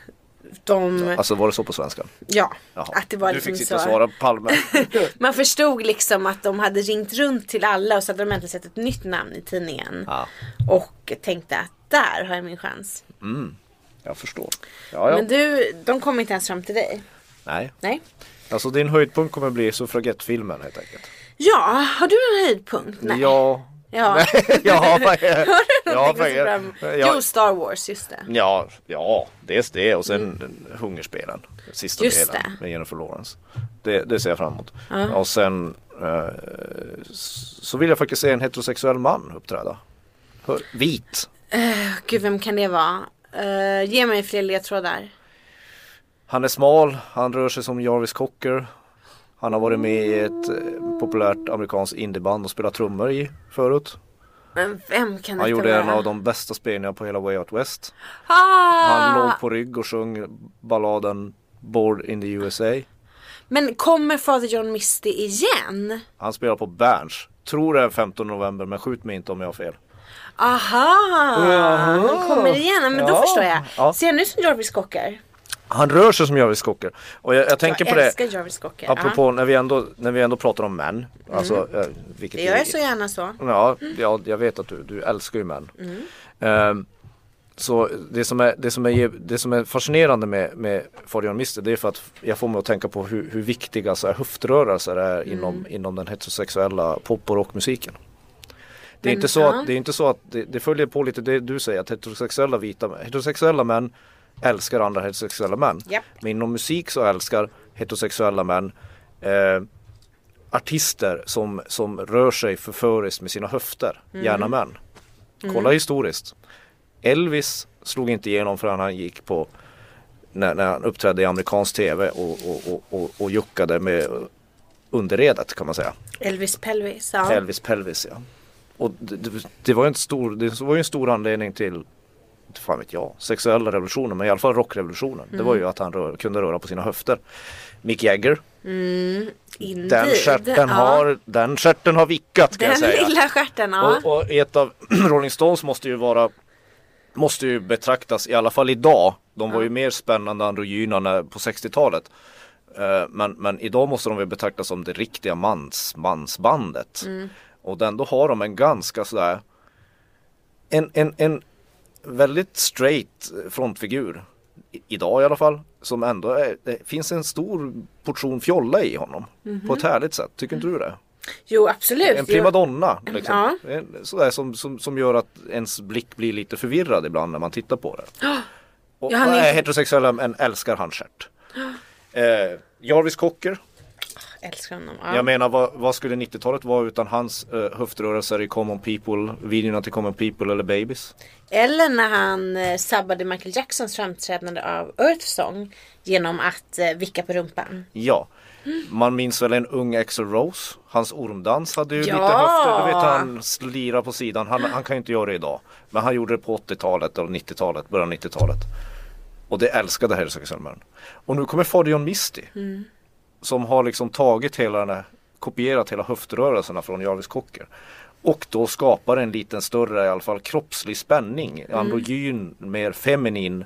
[SPEAKER 2] de,
[SPEAKER 3] Alltså var det så på svenska?
[SPEAKER 2] ja,
[SPEAKER 3] Jaha.
[SPEAKER 2] att det var
[SPEAKER 3] du
[SPEAKER 2] liksom
[SPEAKER 3] fick
[SPEAKER 2] så.
[SPEAKER 3] sitta och svara på Palme.
[SPEAKER 2] Man förstod liksom att de hade ringt runt till alla och så hade de äntligen sett ett nytt namn i tidningen.
[SPEAKER 3] ja,
[SPEAKER 2] Och tänkte att där har jag min chans.
[SPEAKER 3] jag förstår. Ja, ja.
[SPEAKER 2] Men du, de kom inte ens fram till dig.
[SPEAKER 3] Nej,
[SPEAKER 2] Nej.
[SPEAKER 3] alltså din höjdpunkt kommer bli suffragettfilmen helt enkelt.
[SPEAKER 2] Ja, har du en höjdpunkt? Nej.
[SPEAKER 3] Ja,
[SPEAKER 2] ja.
[SPEAKER 3] ja, vad är-
[SPEAKER 2] Har du
[SPEAKER 3] ja,
[SPEAKER 2] någonting
[SPEAKER 3] vad
[SPEAKER 2] att se
[SPEAKER 3] är-
[SPEAKER 2] fram
[SPEAKER 3] ja.
[SPEAKER 2] Jo, Star Wars, just det.
[SPEAKER 3] ja, ja, dels det och sen Hungerspelen. Sista
[SPEAKER 2] Just
[SPEAKER 3] delen
[SPEAKER 2] det.
[SPEAKER 3] med Jennifer Lawrence. Det, det ser jag fram emot. Och sen eh, s- så vill jag faktiskt se en heterosexuell man uppträda. Hör, vit.
[SPEAKER 2] Gud, vem kan det vara? Eh, ge mig fler ledtrådar.
[SPEAKER 3] Han är smal, han rör sig som Jarvis Cocker. Han har varit med i ett eh, populärt amerikanskt indieband och spelat trummor i förut.
[SPEAKER 2] Men vem kan
[SPEAKER 3] Han
[SPEAKER 2] detta
[SPEAKER 3] gjorde en
[SPEAKER 2] vara?
[SPEAKER 3] av de bästa spelningarna på hela Way Out West. Han
[SPEAKER 2] Ah!
[SPEAKER 3] låg på rygg och sjöng balladen Bored in the USA.
[SPEAKER 2] Men kommer Father John Misty igen?
[SPEAKER 3] Han spelar på Berns. Tror det är 15 november men skjut mig inte om jag har fel.
[SPEAKER 2] Aha! Han kommer igen. Men då
[SPEAKER 3] Ja.
[SPEAKER 2] förstår jag.
[SPEAKER 3] Ja.
[SPEAKER 2] Ser han ut som Jarvis Cocker?
[SPEAKER 3] Han rör sig som Jarvis Cocker. Och jag, jag tänker
[SPEAKER 2] jag
[SPEAKER 3] på det.
[SPEAKER 2] älskar Jarvis Cocker.
[SPEAKER 3] Apropå när, vi ändå, när vi ändå pratar om män. Alltså, eh, vilket
[SPEAKER 2] Ja. Mm. Jag
[SPEAKER 3] ju-
[SPEAKER 2] är så gärna så.
[SPEAKER 3] Ja, ja jag vet att du, du älskar ju män.
[SPEAKER 2] Mm.
[SPEAKER 3] Ehm, så det som, är, det, som är, det som är fascinerande med, med Fabian Mister det är för att jag får mig att tänka på hur, hur viktiga så här, höftrörelser är
[SPEAKER 2] Mm.
[SPEAKER 3] inom, inom den heterosexuella pop och rockmusiken. Det är,
[SPEAKER 2] Men,
[SPEAKER 3] inte så
[SPEAKER 2] ja.
[SPEAKER 3] att, det är inte så att det, det följer på lite det du säger att heterosexuella vita män, heterosexuella män älskar andra heterosexuella män.
[SPEAKER 2] Japp.
[SPEAKER 3] Men inom musik så älskar heterosexuella män eh, artister som, som rör sig förföriskt med sina höfter, gärna män. Kolla historiskt. Elvis slog inte igenom förrän han gick på när, när han uppträdde i amerikansk tv och, och, och, och, och juckade med underredet kan man säga.
[SPEAKER 2] Elvis Pelvis. Ja.
[SPEAKER 3] Elvis pelvis ja. Och det, det- det, var ju en stor, det var ju en stor anledning till inte fan vet jag, sexuella revolutionen men i alla fall rockrevolutionen. Det var
[SPEAKER 2] Mm.
[SPEAKER 3] ju att han rör, kunde röra på sina höfter. Mick Jagger,
[SPEAKER 2] Indeed.
[SPEAKER 3] den stjärten
[SPEAKER 2] Ja.
[SPEAKER 3] har, den stjärten har vickat ska jag
[SPEAKER 2] Den
[SPEAKER 3] säga.
[SPEAKER 2] lilla stjärten, ja.
[SPEAKER 3] Och, och ett av Rolling Stones måste ju vara Måste ju betraktas i alla fall idag De var ju mer spännande androgyna när, på 60-talet Eh, men, men idag måste de väl betraktas som det riktiga mans, mansbandet Och den, då har de en ganska sådär En, en, en väldigt straight frontfigur i- Idag i alla fall Som ändå är, det finns en stor portion fjolla i honom På ett härligt sätt, tycker inte du det?
[SPEAKER 2] Jo absolut.
[SPEAKER 3] En primadonna. Liksom.
[SPEAKER 2] Ja.
[SPEAKER 3] En- Sådär som, som, som gör att ens blick blir lite förvirrad ibland när man tittar på det. Och
[SPEAKER 2] Ja, han är-
[SPEAKER 3] nej, heterosexuella män älskar handstjärt. Eh, Jarvis Cocker,
[SPEAKER 2] Jag älskar honom. Ja.
[SPEAKER 3] jag menar vad, vad skulle 90-talet vara utan hans eh, höftrörelser i Common People, videorna till Common People eller Babies?
[SPEAKER 2] Eller när han eh, sabbade Michael Jacksons framträdande av Earth Song genom att eh, vicka på rumpan.
[SPEAKER 3] Ja. Man minns väl en ung Axl Rose? Hans ormdans hade ju lite
[SPEAKER 2] Ja.
[SPEAKER 3] höfter. Du vet han slirar på sidan. Han, han kan ju inte göra det idag. Men han gjorde det på 80-talet och 90-talet, början av 90-talet. Och det älskade heterosexuella Och nu kommer Fabian Misty. Som har liksom tagit hela den här, kopierat hela höftrörelserna från Jarvis Cocker. Och då skapar en liten större i alla fall kroppslig spänning. Androgyn, mer feminin.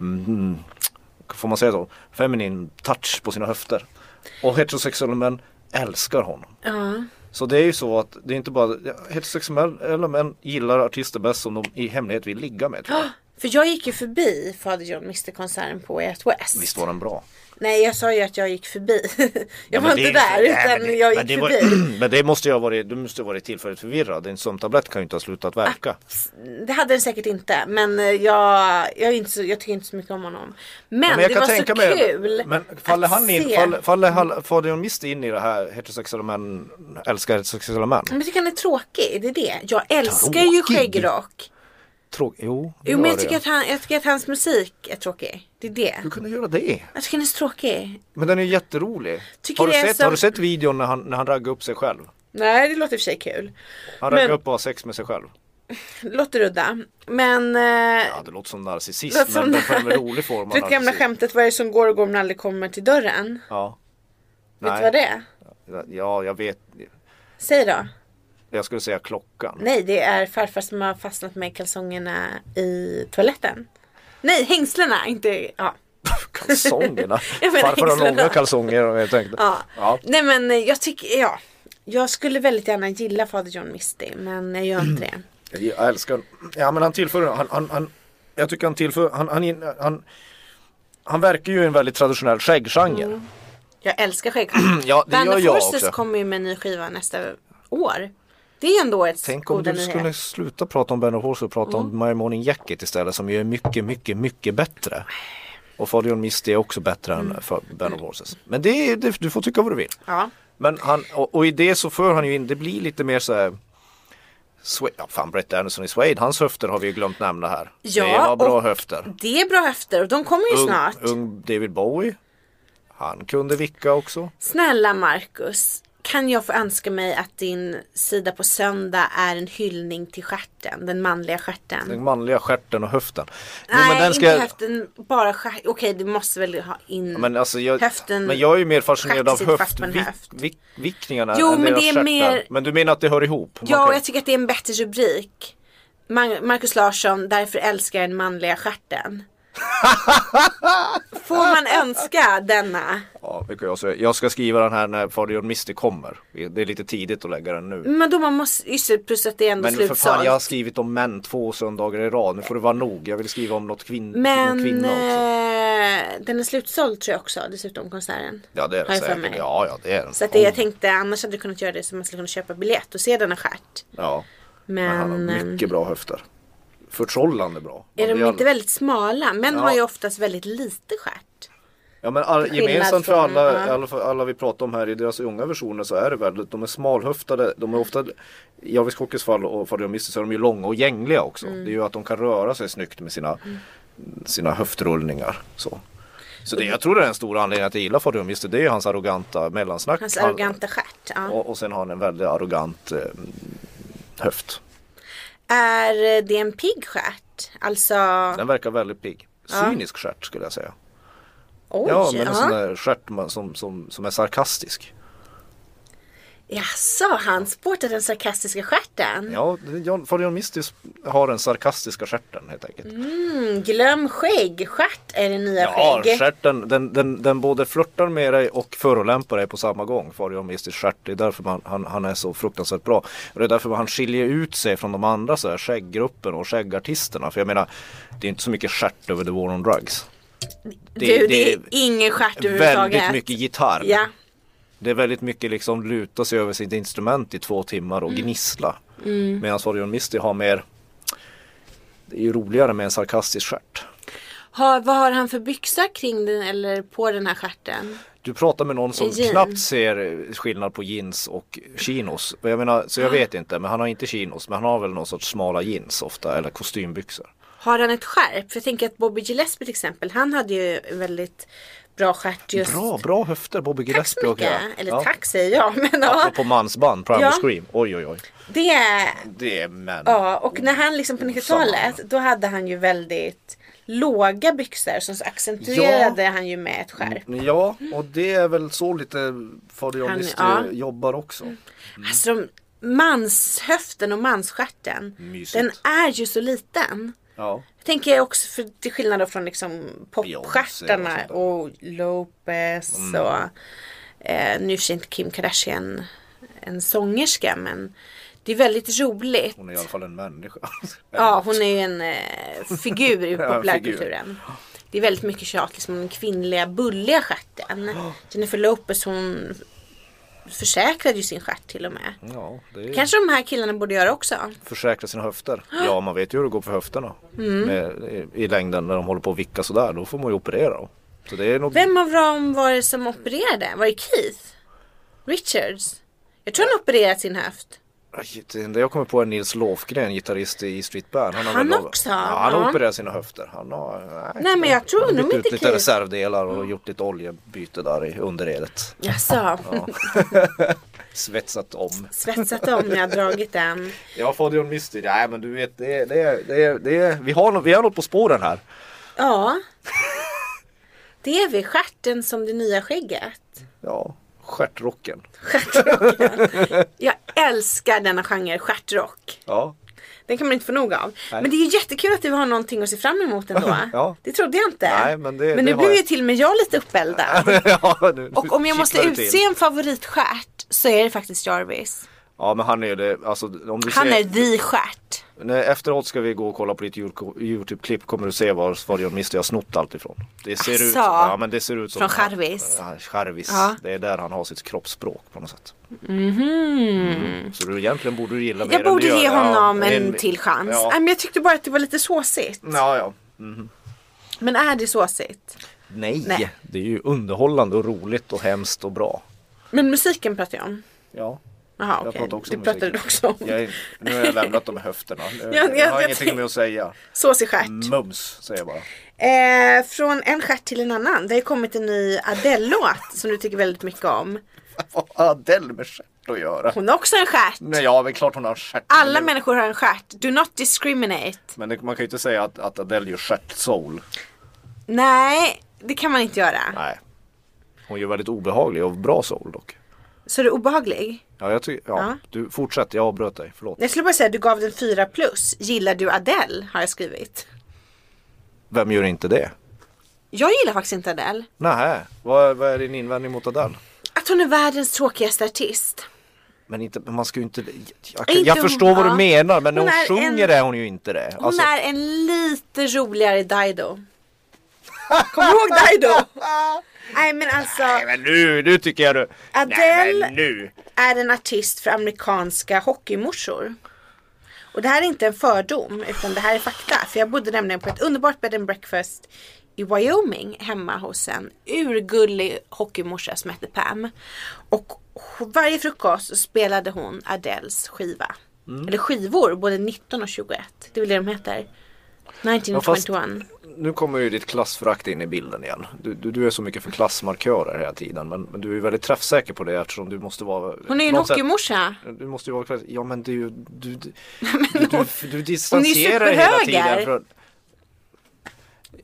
[SPEAKER 3] Mm, får man säga så? Feminin touch på sina höfter. Och heterosexuella män älskar honom.
[SPEAKER 2] Ja.
[SPEAKER 3] Så det är ju så att det är inte bara heterosexuella män gillar artister bäst som de i hemlighet vill ligga med. Tror jag.
[SPEAKER 2] För jag gick ju förbi Fader John Mister-konserten på Way Out West.
[SPEAKER 3] Visst var den bra?
[SPEAKER 2] Nej jag sa ju att jag gick förbi. jag var
[SPEAKER 3] men
[SPEAKER 2] inte
[SPEAKER 3] det är-
[SPEAKER 2] där utan
[SPEAKER 3] nej, men det-
[SPEAKER 2] jag
[SPEAKER 3] men det
[SPEAKER 2] gick
[SPEAKER 3] var-
[SPEAKER 2] förbi.
[SPEAKER 3] Men det måste ju ha varit, du måste ha varit tillfälligt förvirrad. Din sömntablett kan ju inte ha slutat
[SPEAKER 2] Ah,
[SPEAKER 3] verka.
[SPEAKER 2] Det hade den säkert inte. Men eh, jag, jag, är inte så, jag tycker inte så mycket om honom. Men,
[SPEAKER 3] jag
[SPEAKER 2] det
[SPEAKER 3] kan
[SPEAKER 2] var
[SPEAKER 3] tänka
[SPEAKER 2] så
[SPEAKER 3] mig det.
[SPEAKER 2] kul.
[SPEAKER 3] Men faller
[SPEAKER 2] att
[SPEAKER 3] han in,
[SPEAKER 2] se.
[SPEAKER 3] faller, faller, han- faller han miste in i det här heterosexuella män älskar heterosexuella män?
[SPEAKER 2] Men jag tycker han är tråkig. Det är det. Jag älskar ju
[SPEAKER 3] Tråkig?
[SPEAKER 2] skäggrock.
[SPEAKER 3] Trå- jo,
[SPEAKER 2] Jo men
[SPEAKER 3] gör
[SPEAKER 2] jag
[SPEAKER 3] det. Mm.
[SPEAKER 2] tycker, att han, jag tycker att hans musik är tråkig. Det är det.
[SPEAKER 3] Hur kunde du göra det?
[SPEAKER 2] Jag tycker den är så tråkig.
[SPEAKER 3] Men den är jätterolig.
[SPEAKER 2] Tycker
[SPEAKER 3] Har du,
[SPEAKER 2] det är
[SPEAKER 3] sett,
[SPEAKER 2] som-
[SPEAKER 3] har du sett videon när han, när han raggar upp sig själv?
[SPEAKER 2] Nej det låter i och för sig kul.
[SPEAKER 3] Han
[SPEAKER 2] Men-
[SPEAKER 3] raggar upp och har sex med sig själv.
[SPEAKER 2] Det låter udda. Men eh,
[SPEAKER 3] Ja, det låter som narcissist
[SPEAKER 2] låter
[SPEAKER 3] men
[SPEAKER 2] som
[SPEAKER 3] det är en rolig form av
[SPEAKER 2] du vet gamla
[SPEAKER 3] narcissism.
[SPEAKER 2] skämtet vad är det som går och går men aldrig kommer till dörren?
[SPEAKER 3] Ja.
[SPEAKER 2] Vet du vad det är?
[SPEAKER 3] är? Ja, jag vet.
[SPEAKER 2] Säg då.
[SPEAKER 3] Jag skulle säga klockan.
[SPEAKER 2] Nej det är farfar som har fastnat med kalsongerna i toaletten. Nej hängslena inte. Ja.
[SPEAKER 3] Kalsongerna.
[SPEAKER 2] Jag menar
[SPEAKER 3] Farfar har långa
[SPEAKER 2] hängslena.
[SPEAKER 3] kalsonger och jag tänkte.
[SPEAKER 2] Ja.
[SPEAKER 3] Ja.
[SPEAKER 2] Nej men eh, jag tycker ja. Jag skulle väldigt gärna gilla Fader John Misty men jag gör inte det.
[SPEAKER 3] Jag älskar Ja men han tillför, han, han, han jag tycker han tillför, han, han, han, han verkar ju i en väldigt traditionell skägggenre.
[SPEAKER 2] Mm. Jag älskar skäggkort.
[SPEAKER 3] Ja, det gör jag också.
[SPEAKER 2] kommer ju med en ny skiva nästa år. Det är ju ändå ett
[SPEAKER 3] Tänk om
[SPEAKER 2] goda Mm.
[SPEAKER 3] du
[SPEAKER 2] nyhet.
[SPEAKER 3] skulle sluta prata om Ben och Horse och prata om My Morning Jacket istället som ju är mycket, mycket, mycket bättre. Och Fabian Misty är också bättre
[SPEAKER 2] Mm.
[SPEAKER 3] än för Ben och Horses. Men det, är- det, du får tycka vad du vill.
[SPEAKER 2] Ja.
[SPEAKER 3] Men han, och, och i det så för han ju in, det blir lite mer så här Swa- Ja, fan Brett Anderson i Suede, hans höfter har vi ju glömt nämna här.
[SPEAKER 2] Ja,
[SPEAKER 3] det var bra
[SPEAKER 2] och
[SPEAKER 3] höfter.
[SPEAKER 2] Det är bra höfter och de kommer ju
[SPEAKER 3] Ung,
[SPEAKER 2] snart.
[SPEAKER 3] ung David Bowie. Han kunde vicka också.
[SPEAKER 2] Snälla Marcus. Kan jag få önska mig att din sida på söndag är en hyllning till stjärten, den manliga stjärten?
[SPEAKER 3] Den manliga stjärten och höften. Jo,
[SPEAKER 2] Nej,
[SPEAKER 3] den
[SPEAKER 2] inte höften, bara stjärten. Okej, du måste väl ha in...
[SPEAKER 3] Men, alltså jag,
[SPEAKER 2] Höften-
[SPEAKER 3] men jag är ju mer fascinerad
[SPEAKER 2] stjärten
[SPEAKER 3] av
[SPEAKER 2] sitter fast på en
[SPEAKER 3] höftvick-
[SPEAKER 2] höft.
[SPEAKER 3] vick- vickningarna
[SPEAKER 2] Jo,
[SPEAKER 3] än
[SPEAKER 2] men
[SPEAKER 3] deras
[SPEAKER 2] det är
[SPEAKER 3] stjärtar.
[SPEAKER 2] mer-
[SPEAKER 3] Men du menar att det hör ihop? Man
[SPEAKER 2] ja,
[SPEAKER 3] kan-
[SPEAKER 2] och jag tycker att det är en bättre rubrik. Man- Marcus Larsson, därför älskar jag den manliga stjärten. Får man önska denna?
[SPEAKER 3] ja, det kan jag, säga. jag ska skriva den här när Fabian Mister kommer. Det är lite tidigt att lägga den nu.
[SPEAKER 2] Men då man måste, just det, plus att det är ändå
[SPEAKER 3] Men för fan
[SPEAKER 2] slutsålt.
[SPEAKER 3] jag har skrivit om män två söndagar i rad. Nu får det vara nog. Jag vill skriva om något kvin-
[SPEAKER 2] Men
[SPEAKER 3] någon kvinna också.
[SPEAKER 2] eh, den är slutsåld tror jag också dessutom konserten.
[SPEAKER 3] Ja det är
[SPEAKER 2] har
[SPEAKER 3] det
[SPEAKER 2] jag för
[SPEAKER 3] säkert.
[SPEAKER 2] mig.
[SPEAKER 3] Ja, ja det är den.
[SPEAKER 2] Så att det, jag tänkte annars hade du kunnat göra det så man skulle kunna köpa biljett och se denna stjärt.
[SPEAKER 3] Ja, men han
[SPEAKER 2] Men
[SPEAKER 3] har
[SPEAKER 2] eh,
[SPEAKER 3] mycket bra höfter. Förtrollande bra.
[SPEAKER 2] är
[SPEAKER 3] Man
[SPEAKER 2] de
[SPEAKER 3] blir
[SPEAKER 2] inte väldigt smala? Män
[SPEAKER 3] Ja.
[SPEAKER 2] har ju oftast väldigt lite stjärt.
[SPEAKER 3] Ja men all,
[SPEAKER 2] skillnad
[SPEAKER 3] gemensamt för
[SPEAKER 2] från-
[SPEAKER 3] alla,
[SPEAKER 2] ja.
[SPEAKER 3] alla, för alla vi pratar om här i deras unga versioner så är det väl att de är smalhöftade. De är ofta, i Jarvis Cockers fall och Fadiomistis så är de ju långa och gängliga också.
[SPEAKER 2] Mm.
[SPEAKER 3] Det är ju att de kan röra sig snyggt med sina, sina höftrullningar. Så, så
[SPEAKER 2] Mm.
[SPEAKER 3] det, jag tror det är en stor anledning att jag gillar Fadiomistis. Det är ju hans arroganta mellansnack.
[SPEAKER 2] Hans
[SPEAKER 3] Han-
[SPEAKER 2] arroganta stjärt. Ja.
[SPEAKER 3] och, och sen har han en väldigt arrogant eh, höft.
[SPEAKER 2] Är eh, det en pigg stjärt? Alltså,
[SPEAKER 3] Den verkar väldigt pigg. Cynisk stjärt skulle jag säga.
[SPEAKER 2] oj.
[SPEAKER 3] ja men en sån
[SPEAKER 2] ja.
[SPEAKER 3] där stjärt man- som, som, som är sarkastisk.
[SPEAKER 2] Jaså, han sportar den sarkastiska stjärten?
[SPEAKER 3] Ja, John, Fabian Mistis har den sarkastiska stjärten helt enkelt.
[SPEAKER 2] Mm, glöm skägg, stjärt är det nya
[SPEAKER 3] ja,
[SPEAKER 2] skägg.
[SPEAKER 3] stjärten, den, den, den både flörtar med dig och förolämpar dig på samma gång. Fabian Mistis stjärt, det är därför man, han, han är så fruktansvärt bra. Och det är därför han skiljer ut sig från de andra så här, skägggruppen och skäggartisterna. För jag menar, det är inte så mycket stjärt över The War on Drugs.
[SPEAKER 2] du, det,
[SPEAKER 3] det
[SPEAKER 2] är ingen stjärt överhuvudtaget.
[SPEAKER 3] Väldigt mycket gitarr.
[SPEAKER 2] Ja.
[SPEAKER 3] Det är väldigt mycket liksom luta sig över sitt instrument i två timmar och gnissla. Mm. Medan Orion Misty har mer Det är ju roligare med en sarkastisk stjärt.
[SPEAKER 2] Har, vad har han för byxa kring den eller på den här stjärten?
[SPEAKER 3] Du pratar med någon som
[SPEAKER 2] Jean.
[SPEAKER 3] knappt ser eh, skillnad på jeans och chinos. Jag menar, så jag vet inte, men han har inte chinos, men han har väl någon sorts smala jeans ofta eller kostymbyxor.
[SPEAKER 2] Har han ett skärp? För jag tänker att Bobby Gillespie till exempel, han hade ju en väldigt bra stjärt just.
[SPEAKER 3] Bra, bra höfter Bobby
[SPEAKER 2] Tack så
[SPEAKER 3] Gillespie och
[SPEAKER 2] mycket.
[SPEAKER 3] jag.
[SPEAKER 2] Eller
[SPEAKER 3] Ja.
[SPEAKER 2] tack säger jag. Men ja,
[SPEAKER 3] Apropå mansband, Primal
[SPEAKER 2] Ja.
[SPEAKER 3] Scream. Oj oj oj.
[SPEAKER 2] det är
[SPEAKER 3] Det är män.
[SPEAKER 2] Ja, och när han liksom på 90-talet då hade han ju väldigt låga byxor så så accentuerade han ju med ett skärp.
[SPEAKER 3] Ja, och det är väl så lite Fabian
[SPEAKER 2] Han-
[SPEAKER 3] Lister
[SPEAKER 2] ja.
[SPEAKER 3] jobbar också. Mm.
[SPEAKER 2] Alltså de, manshöften och mansstjärten
[SPEAKER 3] Mysigt.
[SPEAKER 2] den är ju så liten.
[SPEAKER 3] Ja.
[SPEAKER 2] Jag tänker också för till skillnad då från liksom
[SPEAKER 3] Beyoncé och
[SPEAKER 2] popstjärtarna
[SPEAKER 3] sånt där. Mm.
[SPEAKER 2] och Lopez och eh, nu är för sig inte Kim Kardashian en sångerska men det är väldigt roligt.
[SPEAKER 3] Hon är i alla fall en människa.
[SPEAKER 2] Ja, hon är ju en eh, figur i
[SPEAKER 3] Ja,
[SPEAKER 2] populärkulturen. Det är väldigt mycket tjat liksom, om den kvinnliga bulliga stjärten. Jennifer Lopez hon försäkrade ju sin stjärt till och med.
[SPEAKER 3] Ja, det är...
[SPEAKER 2] Kanske de här killarna borde göra också.
[SPEAKER 3] Försäkra sina höfter. Ja, man vet ju hur det går för höfterna.
[SPEAKER 2] Mm.
[SPEAKER 3] Med, i, I längden när de håller på att vicka sådär, då får man ju operera. dem. Så det är nog...
[SPEAKER 2] Vem av dem var det som opererade? Var det Keith? Richards? Jag tror han opererat sin höft.
[SPEAKER 3] Aj, Det enda jag kommer på är Nils Lofgren, gitarrist i Street Band. har
[SPEAKER 2] Han
[SPEAKER 3] väl-
[SPEAKER 2] också?
[SPEAKER 3] Ja, han har
[SPEAKER 2] Ja.
[SPEAKER 3] opererat sina höfter. Han har...
[SPEAKER 2] Nej, men jag tror
[SPEAKER 3] han har
[SPEAKER 2] nog
[SPEAKER 3] bytt
[SPEAKER 2] inte
[SPEAKER 3] ut lite
[SPEAKER 2] Keith.
[SPEAKER 3] reservdelar och gjort lite oljebyte där i underredet.
[SPEAKER 2] Jaså?
[SPEAKER 3] Svetsat om.
[SPEAKER 2] Svetsat om jag har dragit den.
[SPEAKER 3] Ja, Fabian Misty. Nej, men du vet, det är, det är, det är, det är, vi, har, nå- vi har något på spåren här.
[SPEAKER 2] Ja. Det är vi, stjärten som det nya skägget.
[SPEAKER 3] Ja, stjärtrocken.
[SPEAKER 2] Jag älskar denna genre, stjärtrock.
[SPEAKER 3] Ja,
[SPEAKER 2] Den kan man inte få nog av.
[SPEAKER 3] Nej.
[SPEAKER 2] Men det är ju jättekul att du har någonting att se fram emot ändå.
[SPEAKER 3] Ja.
[SPEAKER 2] Det trodde jag inte.
[SPEAKER 3] Nej, men det- det
[SPEAKER 2] nu
[SPEAKER 3] har
[SPEAKER 2] blev
[SPEAKER 3] jag.
[SPEAKER 2] ju till och med jag lite uppeldad.
[SPEAKER 3] ja nu,
[SPEAKER 2] Och om jag måste
[SPEAKER 3] kittlar det till.
[SPEAKER 2] utse en favoritstjärt så är det faktiskt Jarvis.
[SPEAKER 3] Ja, men han är ju det. Alltså, om du
[SPEAKER 2] Han
[SPEAKER 3] ser,
[SPEAKER 2] är the stjärt.
[SPEAKER 3] Nej, efteråt ska vi gå och kolla på ditt Youtube- YouTube-klipp. Kommer du se var Fabian Misty har snott allt ifrån. Det ser ut,
[SPEAKER 2] Asså.
[SPEAKER 3] ja, men det ser ut som
[SPEAKER 2] Alltså, Från Charvis.
[SPEAKER 3] Ja, Charvis.
[SPEAKER 2] Ja. Mhm.
[SPEAKER 3] Det är där han har sitt kroppsspråk på något sätt. Mm. Så du egentligen borde du gilla mer
[SPEAKER 2] Jag
[SPEAKER 3] än du
[SPEAKER 2] borde
[SPEAKER 3] gör.
[SPEAKER 2] ge
[SPEAKER 3] Ja,
[SPEAKER 2] honom en till chans.
[SPEAKER 3] Ja.
[SPEAKER 2] Nej, men jag tyckte bara att det var lite såsigt.
[SPEAKER 3] Ja, ja.
[SPEAKER 2] Men är det såsigt?
[SPEAKER 3] Nej,
[SPEAKER 2] Nej.
[SPEAKER 3] det är ju underhållande och roligt och hemskt och bra.
[SPEAKER 2] Men musiken pratar jag om.
[SPEAKER 3] Ja.
[SPEAKER 2] Jaha
[SPEAKER 3] Jag
[SPEAKER 2] okej.
[SPEAKER 3] pratar också
[SPEAKER 2] Det
[SPEAKER 3] om
[SPEAKER 2] pratade
[SPEAKER 3] musiken.
[SPEAKER 2] du också om.
[SPEAKER 3] Jag är, nu har jag lämnat de här höfterna. Jag,
[SPEAKER 2] jag-
[SPEAKER 3] jag har
[SPEAKER 2] jag
[SPEAKER 3] ingenting
[SPEAKER 2] tänk-
[SPEAKER 3] med att säga.
[SPEAKER 2] Såsig stjärt.
[SPEAKER 3] Mums, säger jag bara.
[SPEAKER 2] Eh, från en stjärt till en annan. Det har ju kommit en ny Adele-låt som du tycker väldigt mycket om.
[SPEAKER 3] Vad har Adele med stjärt att göra?
[SPEAKER 2] Hon har också en stjärt.
[SPEAKER 3] Nej, ja, men klart hon har en stjärt.
[SPEAKER 2] Alla
[SPEAKER 3] Men-
[SPEAKER 2] människor har en stjärt. Do not discriminate.
[SPEAKER 3] Men det, man kan ju inte säga att, att Adele gör stjärtsoul.
[SPEAKER 2] Nej, det kan man inte göra.
[SPEAKER 3] Nej. Hon gör väldigt obehaglig och bra soul dock.
[SPEAKER 2] Så du är obehaglig?
[SPEAKER 3] Ja, jag tycker, ja.
[SPEAKER 2] Ja.
[SPEAKER 3] Du, fortsätt, jag avbröt dig. Förlåt.
[SPEAKER 2] Jag skulle bara säga att du gav den 4 plus. Gillar du Adele? Har jag skrivit.
[SPEAKER 3] Vem gör inte det?
[SPEAKER 2] Jag gillar faktiskt inte Adele.
[SPEAKER 3] Nähä, vad, vad är din invändning mot Adele?
[SPEAKER 2] Att hon är världens tråkigaste artist.
[SPEAKER 3] Men inte, men man ska ju inte... Jag,
[SPEAKER 2] Inte
[SPEAKER 3] jag
[SPEAKER 2] hon-
[SPEAKER 3] förstår vad
[SPEAKER 2] ja.
[SPEAKER 3] du menar men när
[SPEAKER 2] Hon
[SPEAKER 3] hon,
[SPEAKER 2] är
[SPEAKER 3] sjunger
[SPEAKER 2] en-
[SPEAKER 3] är hon ju inte det. Alltså-
[SPEAKER 2] Hon är en lite roligare Dido. Kommer du ihåg Dido? Nej men alltså.
[SPEAKER 3] Nej men nu, nu tycker jag du... Nej,
[SPEAKER 2] Adele-
[SPEAKER 3] men nu.
[SPEAKER 2] är en artist för amerikanska hockeymorsor. Och det här är inte en fördom utan det här är fakta. För jag bodde nämligen på ett underbart bed and breakfast i Wyoming hemma hos en urgullig hockeymorsa som hette Pam. Och varje frukost så spelade hon Adeles skiva.
[SPEAKER 3] Mm.
[SPEAKER 2] Eller skivor, både 19 och 21. Det är väl det de heter. 19 och
[SPEAKER 3] Ja, fast-
[SPEAKER 2] 21.
[SPEAKER 3] Nu kommer ju ditt klassförakt in i bilden igen. Du, du, du är så mycket för klassmarkörer hela tiden men, men du är ju väldigt träffsäker på det eftersom du måste vara...
[SPEAKER 2] Hon är ju en
[SPEAKER 3] på något sätt-
[SPEAKER 2] hockeymorsa.
[SPEAKER 3] Du måste ju vara klass... Ja men du, du, du, du, du, du
[SPEAKER 2] hon är ju
[SPEAKER 3] distanserar dig hela tiden
[SPEAKER 2] superhöger.
[SPEAKER 3] från...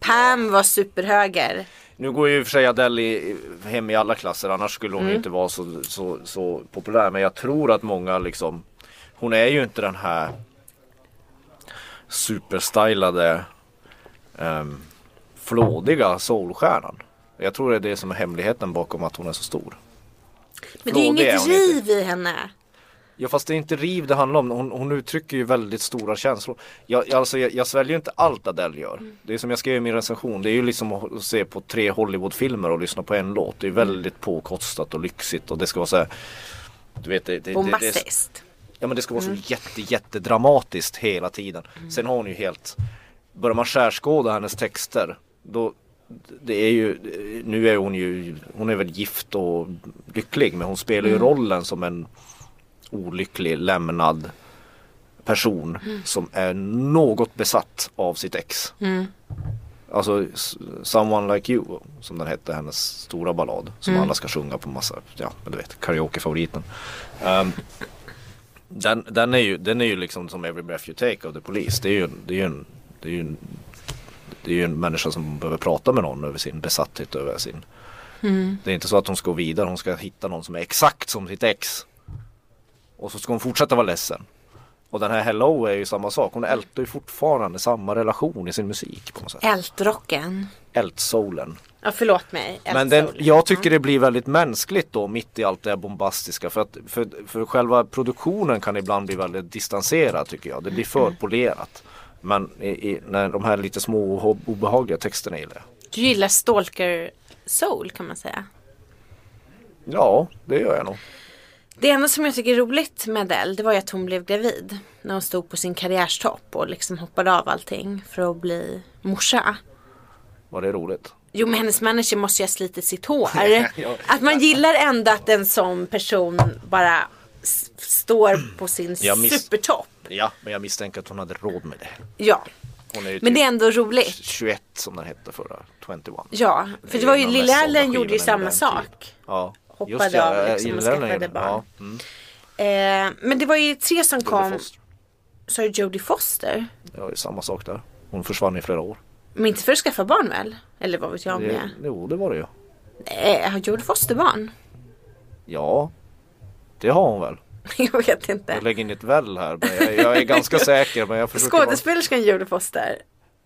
[SPEAKER 2] Pam var superhöger.
[SPEAKER 3] Nu går ju i och för sig Adele i- hem i alla klasser annars skulle hon ju inte vara så, så, så populär. Men jag tror att många liksom Hon är ju inte den här superstylade um, flådiga soulstjärnan. Jag tror det är det som är hemligheten bakom att hon är så stor.
[SPEAKER 2] Men det är ju
[SPEAKER 3] Flådig är
[SPEAKER 2] inget
[SPEAKER 3] hon inte.
[SPEAKER 2] driv i henne.
[SPEAKER 3] Ja fast det är inte riv det handlar om, hon, hon uttrycker ju väldigt stora känslor jag, jag- alltså, jag, jag sväljer ju inte allt Adele gör Det är som jag skrev i min recension, det är ju liksom att se på tre Hollywoodfilmer och lyssna på en låt Det är väldigt påkostat och lyxigt och det ska vara så här. Du vet, det, det, det, det, är-
[SPEAKER 2] Bombastiskt.
[SPEAKER 3] Ja men det ska vara så jätte jätte dramatiskt hela tiden. Sen har hon ju helt, börjar man skärskåda hennes texter då det är ju, nu är hon ju, hon är väl gift och lycklig men hon spelar ju rollen som en olycklig lämnad person som är något besatt av sitt ex. Alltså s- Someone Like You som den hette, hennes stora ballad som alla ska sjunga på massa, ja men du vet karaokefavoriten. Ehm, den, den, är ju, den är ju liksom som Every Breath You Take av The Police. Det är ju, en- det är ju, en, det är ju, en, det är ju en människa som behöver prata med någon över sin besatthet över sin. Det är inte så att hon ska gå vidare, hon ska hitta någon som är exakt som sitt ex. Och så ska hon fortsätta vara ledsen. Och den här Hello är ju samma sak, hon ältar ju fortfarande samma relation i sin musik på något sätt.
[SPEAKER 2] Ältrocken.
[SPEAKER 3] Ältsolen.
[SPEAKER 2] Ja förlåt mig.
[SPEAKER 3] Men den,
[SPEAKER 2] Ältsolen.
[SPEAKER 3] jag tycker det blir väldigt mänskligt då mitt i allt det här bombastiska för, att, för, för själva produktionen kan ibland bli väldigt distanserad tycker jag. Det blir för polerat. Men i, i, när de här lite små och obehagliga texterna gillar jag.
[SPEAKER 2] Du gillar stalker soul kan man säga.
[SPEAKER 3] Ja, det gör jag nog.
[SPEAKER 2] Det enda som jag tycker är roligt med Adele det var ju att hon blev gravid. När hon stod på sin karriärstopp och liksom hoppade av allting för att bli morsa.
[SPEAKER 3] Var det roligt?
[SPEAKER 2] Jo men hennes manager måste ju ha slitit sitt hår. Att man gillar ändå att en sån person bara s- står på sin
[SPEAKER 3] Jag miss-
[SPEAKER 2] supertopp.
[SPEAKER 3] Ja, men jag misstänker att hon hade råd med det.
[SPEAKER 2] Ja.
[SPEAKER 3] Hon är ju
[SPEAKER 2] Men
[SPEAKER 3] typ
[SPEAKER 2] det är ändå roligt.
[SPEAKER 3] 21 som den hette förra, 21.
[SPEAKER 2] Ja. För det var ju
[SPEAKER 3] En av
[SPEAKER 2] Lilla
[SPEAKER 3] mest sålda
[SPEAKER 2] Ellen gjorde ju
[SPEAKER 3] skivorna
[SPEAKER 2] samma
[SPEAKER 3] under den
[SPEAKER 2] sak.
[SPEAKER 3] tiden. Ja,
[SPEAKER 2] Hoppade
[SPEAKER 3] just det,
[SPEAKER 2] av
[SPEAKER 3] jag
[SPEAKER 2] liksom och
[SPEAKER 3] gillar den
[SPEAKER 2] skaffade
[SPEAKER 3] här.
[SPEAKER 2] barn.
[SPEAKER 3] Ja, mm,
[SPEAKER 2] Eh, men det var ju tre som
[SPEAKER 3] Jodie
[SPEAKER 2] kom.
[SPEAKER 3] Foster.
[SPEAKER 2] Sa ju Jodie Foster.
[SPEAKER 3] Ja, det är samma sak där. Hon försvann i flera år.
[SPEAKER 2] Men inte för att skaffa barn väl? Eller vad vet jag om
[SPEAKER 3] Det,
[SPEAKER 2] det?
[SPEAKER 3] jo, det var det ju.
[SPEAKER 2] Eh, har Jodie Foster barn?
[SPEAKER 3] Ja, det har hon väl.
[SPEAKER 2] jag vet
[SPEAKER 3] Jag
[SPEAKER 2] inte.
[SPEAKER 3] lägger in ett väl här, men jag, jag är ganska säker. Men jag försöker vara...
[SPEAKER 2] Skådespelerskan Jodie Foster.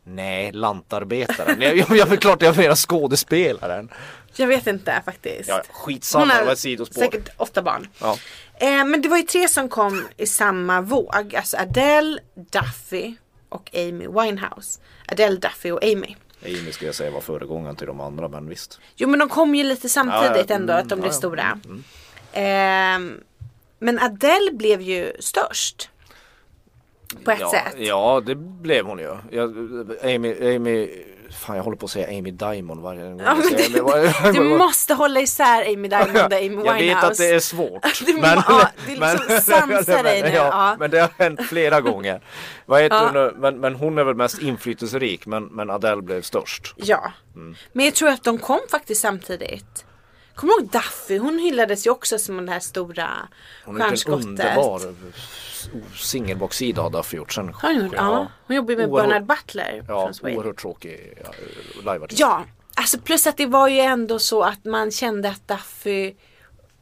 [SPEAKER 3] Nej, lantarbetaren. Nej, jag, jag, jag, klart jag menar skådespelaren.
[SPEAKER 2] Jag vet inte faktiskt.
[SPEAKER 3] Ja, skitsamma, det var ett sidospår.
[SPEAKER 2] säkert åtta barn.
[SPEAKER 3] Ja.
[SPEAKER 2] Eh, men det var ju tre som kom i samma våg. Alltså Adele, Duffy och Amy Winehouse. Adele, Duffy och Amy.
[SPEAKER 3] Amy ska jag säga var föregångaren till de andra, men visst.
[SPEAKER 2] Jo men de kom ju lite samtidigt
[SPEAKER 3] Ja, ja.
[SPEAKER 2] ändå att de
[SPEAKER 3] Mm,
[SPEAKER 2] blev
[SPEAKER 3] ja, ja.
[SPEAKER 2] stora. Ehm, men Adele blev ju störst. På ett
[SPEAKER 3] ja,
[SPEAKER 2] sätt.
[SPEAKER 3] Ja, det blev hon ju. Jag, Amy, Amy, fan jag håller på att säga Amy Diamond varje gång.
[SPEAKER 2] Ja,
[SPEAKER 3] jag
[SPEAKER 2] men
[SPEAKER 3] säger
[SPEAKER 2] du,
[SPEAKER 3] det.
[SPEAKER 2] du måste hålla isär Amy Diamond och Amy Winehouse.
[SPEAKER 3] Jag vet att det är svårt.
[SPEAKER 2] Du må- ja, det är liksom sansa dig nu,
[SPEAKER 3] ja,
[SPEAKER 2] ja.
[SPEAKER 3] men det har hänt flera gånger. Vad heter
[SPEAKER 2] Ja.
[SPEAKER 3] hon nu? men, men hon är väl mest inflytelserik men, men Adele blev störst.
[SPEAKER 2] Ja.
[SPEAKER 3] Mm.
[SPEAKER 2] Men jag tror att de kom faktiskt samtidigt. Kommer du ihåg Duffy? Hon hyllades ju också som den här stora
[SPEAKER 3] Hon har gjort en
[SPEAKER 2] stjärnskottet.
[SPEAKER 3] underbar eh, singelbaksida har Duffy gjort. Sen,
[SPEAKER 2] Har hon gjort? Ja. Hon jobbar ju med
[SPEAKER 3] Oerhört-
[SPEAKER 2] Bernard Butler
[SPEAKER 3] Ja,
[SPEAKER 2] från Sweden.
[SPEAKER 3] oerhört tråkig ja, liveartist.
[SPEAKER 2] Ja, alltså plus att det var ju ändå så att man kände att Duffy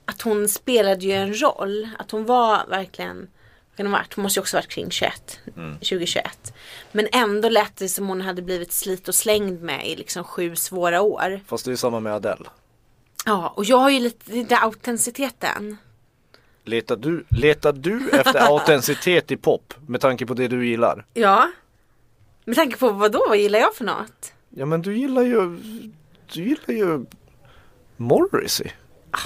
[SPEAKER 2] att hon spelade ju en roll. Att hon var verkligen vad kan hon, ha varit? hon måste ju också ha varit kring 21,
[SPEAKER 3] Mm.
[SPEAKER 2] 2021. Men ändå lät det som hon hade blivit slit och slängd med i liksom sju svåra år.
[SPEAKER 3] Fast det är samma med Adele.
[SPEAKER 2] Ja, och jag har ju lite den där autenticiteten.
[SPEAKER 3] Letar du, letar du efter autenticitet i pop med tanke på det du gillar?
[SPEAKER 2] Ja. Med tanke på vad då? Vad gillar jag för något?
[SPEAKER 3] Ja men du gillar ju, du gillar ju Morrissey.
[SPEAKER 2] Ah,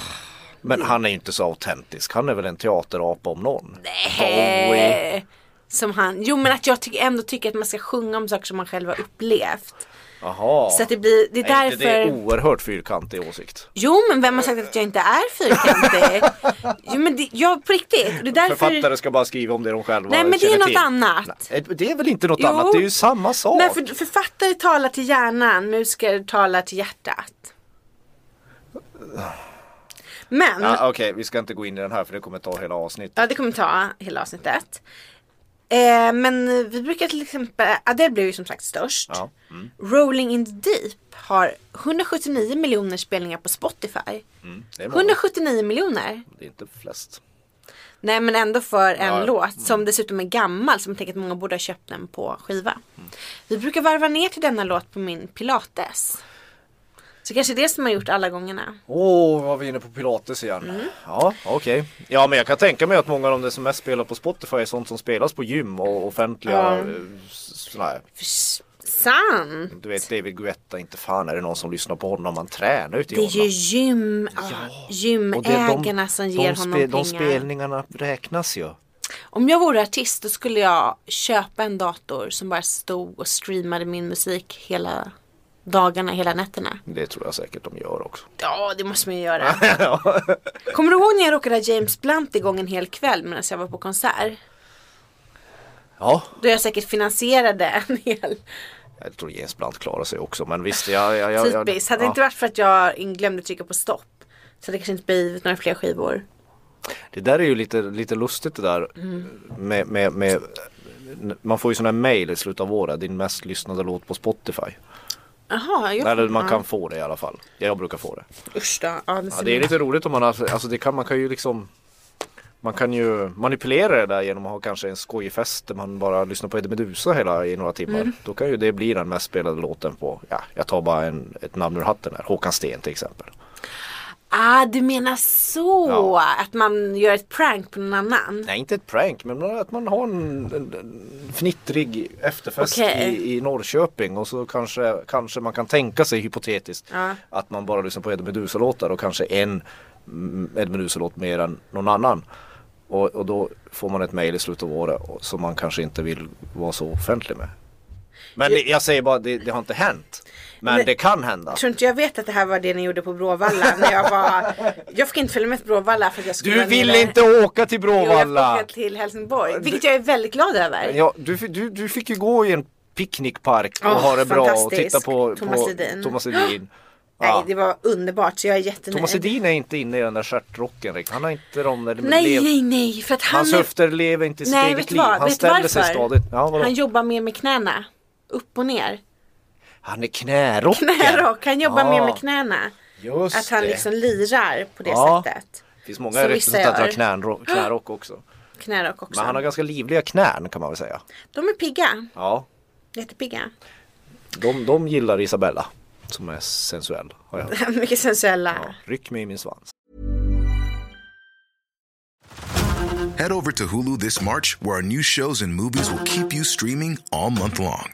[SPEAKER 3] Men han är ju inte så autentisk, han är väl en teaterapa om någon. Bowie.
[SPEAKER 2] Eh, Som han. Jo men att jag tycker, ändå tycker att man ska sjunga om saker som man själv har upplevt.
[SPEAKER 3] Jaha.
[SPEAKER 2] Så att det blir, det är
[SPEAKER 3] Är inte
[SPEAKER 2] därför.
[SPEAKER 3] det Oh, oerhört fyrkantig åsikt?
[SPEAKER 2] Jo men vem har sagt att jag inte är fyrkantig? jo men det, jag på riktigt. Det är därför.
[SPEAKER 3] Författare ska bara skriva om det de själva
[SPEAKER 2] Nej, men det är
[SPEAKER 3] känner
[SPEAKER 2] något
[SPEAKER 3] till.
[SPEAKER 2] annat.
[SPEAKER 3] Nej, det är väl inte något
[SPEAKER 2] Jo.
[SPEAKER 3] annat, det är ju samma sak.
[SPEAKER 2] Nej för, författare talar till hjärnan, musiker talar till hjärtat. Men.
[SPEAKER 3] Ja,
[SPEAKER 2] Ja,
[SPEAKER 3] Okej, vi ska inte gå in i den här för det kommer ta hela avsnittet.
[SPEAKER 2] det kommer ta hela avsnittet. Eh, men vi brukar till exempel, Adele blev ju som sagt störst.
[SPEAKER 3] Ja. mm.
[SPEAKER 2] Rolling in the deep har 179 miljoner spelningar på Spotify.
[SPEAKER 3] Det är, många.
[SPEAKER 2] 179 miljoner.
[SPEAKER 3] det är inte flest.
[SPEAKER 2] Nej men ändå för en
[SPEAKER 3] Ja, Mm. ja.
[SPEAKER 2] låt som dessutom är gammal som jag tänker att många borde ha köpt den
[SPEAKER 3] Mm.
[SPEAKER 2] på skiva. Vi brukar varva ner till denna låt på min pilates. Så kanske det som har gjort alla gångerna.
[SPEAKER 3] Åh, var vi inne på pilates igen.
[SPEAKER 2] Mm.
[SPEAKER 3] Ja, okej. Ja, men jag kan tänka mig att många av de som mest spelar på Spotify är sånt som spelas på gym och offentliga eh, sådana här.
[SPEAKER 2] För s- sant!
[SPEAKER 3] Du vet David Guetta, inte fan är det någon som lyssnar på honom. Han tränar ute i
[SPEAKER 2] Det är ju
[SPEAKER 3] Holland.
[SPEAKER 2] gym, ah,
[SPEAKER 3] det är de-
[SPEAKER 2] gymägarna som ger
[SPEAKER 3] de
[SPEAKER 2] honom
[SPEAKER 3] spe-
[SPEAKER 2] pengar.
[SPEAKER 3] De spelningarna räknas ju.
[SPEAKER 2] Om jag vore artist då skulle jag köpa en dator som bara stod och streamade min musik hela dagarna, hela nätterna.
[SPEAKER 3] Det tror jag säkert de gör också.
[SPEAKER 2] Ja, det måste man ju göra. Kommer du ihåg när jag råkade ha James Blunt igång en hel kväll medan jag var på konsert?
[SPEAKER 3] ja,
[SPEAKER 2] Då jag säkert finansierade en hel.
[SPEAKER 3] jag tror James Blunt klarar sig också. Men visst, jag... jag, jag, jag
[SPEAKER 2] Typiskt. Hade det
[SPEAKER 3] ja.
[SPEAKER 2] inte varit för att jag in- glömde trycka på stopp så hade det kanske inte blivit några fler skivor.
[SPEAKER 3] Det där är ju lite, lite lustigt det där med, med, med man får ju sådana här mail i slutet av året, din mest lyssnade låt på Spotify.
[SPEAKER 2] Jaha, jag
[SPEAKER 3] Eller man
[SPEAKER 2] ja.
[SPEAKER 3] kan få det i alla fall. Jag brukar få det.
[SPEAKER 2] Usch då. Ja, det,
[SPEAKER 3] Ja, det är lite roligt om man har, alltså det kan, man kan ju liksom man kan ju manipulera det där genom att ha kanske en skojig fest där man bara lyssnar på Eddie Meduza hela i några timmar. Då kan ju det bli den mest spelade låten på, ja jag tar bara en, ett namn ur hatten här, Håkan Sten till exempel.
[SPEAKER 2] Ah, du menar så.
[SPEAKER 3] Ja.
[SPEAKER 2] Att man gör ett prank på någon annan.
[SPEAKER 3] Nej inte ett prank men att man har en, en, en fnittrig efterfest
[SPEAKER 2] Okej.
[SPEAKER 3] i, i Norrköping och så kanske, kanske man kan tänka sig hypotetiskt
[SPEAKER 2] Ja.
[SPEAKER 3] att man bara lyssnar på Eddie Meduza låtar och kanske en mm, Eddie Meduza låt mer än någon annan. Och, och då får man ett mejl i slutet av året och- som man kanske inte vill vara så offentlig med. Men det- jag säger bara det, det har inte hänt. Men
[SPEAKER 2] Men-
[SPEAKER 3] det kan hända.
[SPEAKER 2] Jag tror inte jag vet att det här var det ni gjorde på Bråvalla när jag var Jag fick inte följa med till Bråvalla för att jag skulle
[SPEAKER 3] Du
[SPEAKER 2] vara
[SPEAKER 3] ville
[SPEAKER 2] nere.
[SPEAKER 3] inte åka till
[SPEAKER 2] Jo, jag fick
[SPEAKER 3] Bråvalla!
[SPEAKER 2] åka till Helsingborg Vilket jag är väldigt glad över
[SPEAKER 3] Ja, du, fi- du, du fick ju gå i en picknickpark och
[SPEAKER 2] Åh,
[SPEAKER 3] ha det bra och
[SPEAKER 2] fantastisk.
[SPEAKER 3] titta på
[SPEAKER 2] Thomas
[SPEAKER 3] på
[SPEAKER 2] Ledin.
[SPEAKER 3] Thomas Edin.
[SPEAKER 2] Nej
[SPEAKER 3] Ja.
[SPEAKER 2] det var underbart så jag är jättenöjd
[SPEAKER 3] Thomas Edin är inte inne i den där stjärtrocken riktigt. Han har inte de där...
[SPEAKER 2] Nej
[SPEAKER 3] lev-
[SPEAKER 2] nej nej för att han
[SPEAKER 3] Hans
[SPEAKER 2] är-
[SPEAKER 3] höfter lever inte sitt
[SPEAKER 2] Nej vet
[SPEAKER 3] eget
[SPEAKER 2] du
[SPEAKER 3] liv.
[SPEAKER 2] vad,
[SPEAKER 3] Han
[SPEAKER 2] vet du
[SPEAKER 3] ställer sig
[SPEAKER 2] varför?
[SPEAKER 3] stadigt. Ja, vadå?
[SPEAKER 2] han
[SPEAKER 3] han,
[SPEAKER 2] jobbar mer med knäna Upp och ner
[SPEAKER 3] är knärocken.
[SPEAKER 2] Knärock, han jobbar
[SPEAKER 3] Ja,
[SPEAKER 2] mer med knäna
[SPEAKER 3] Just
[SPEAKER 2] Att han
[SPEAKER 3] det.
[SPEAKER 2] liksom lirar på det
[SPEAKER 3] Ja.
[SPEAKER 2] sättet
[SPEAKER 3] Det finns många
[SPEAKER 2] som vissa
[SPEAKER 3] representanter av
[SPEAKER 2] gör.
[SPEAKER 3] knänro- knärock också.
[SPEAKER 2] Knärock också
[SPEAKER 3] Men han har ganska livliga knän kan man väl säga.
[SPEAKER 2] De är pigga,
[SPEAKER 3] Ja,
[SPEAKER 2] jättepigga
[SPEAKER 3] de, de gillar Isabella som är sensuell. Har jag hört.
[SPEAKER 2] Mycket sensuella
[SPEAKER 3] Ja, ryck mig i min svans.
[SPEAKER 4] Head over to Hulu this March, where our new shows and movies will keep you streaming all month long.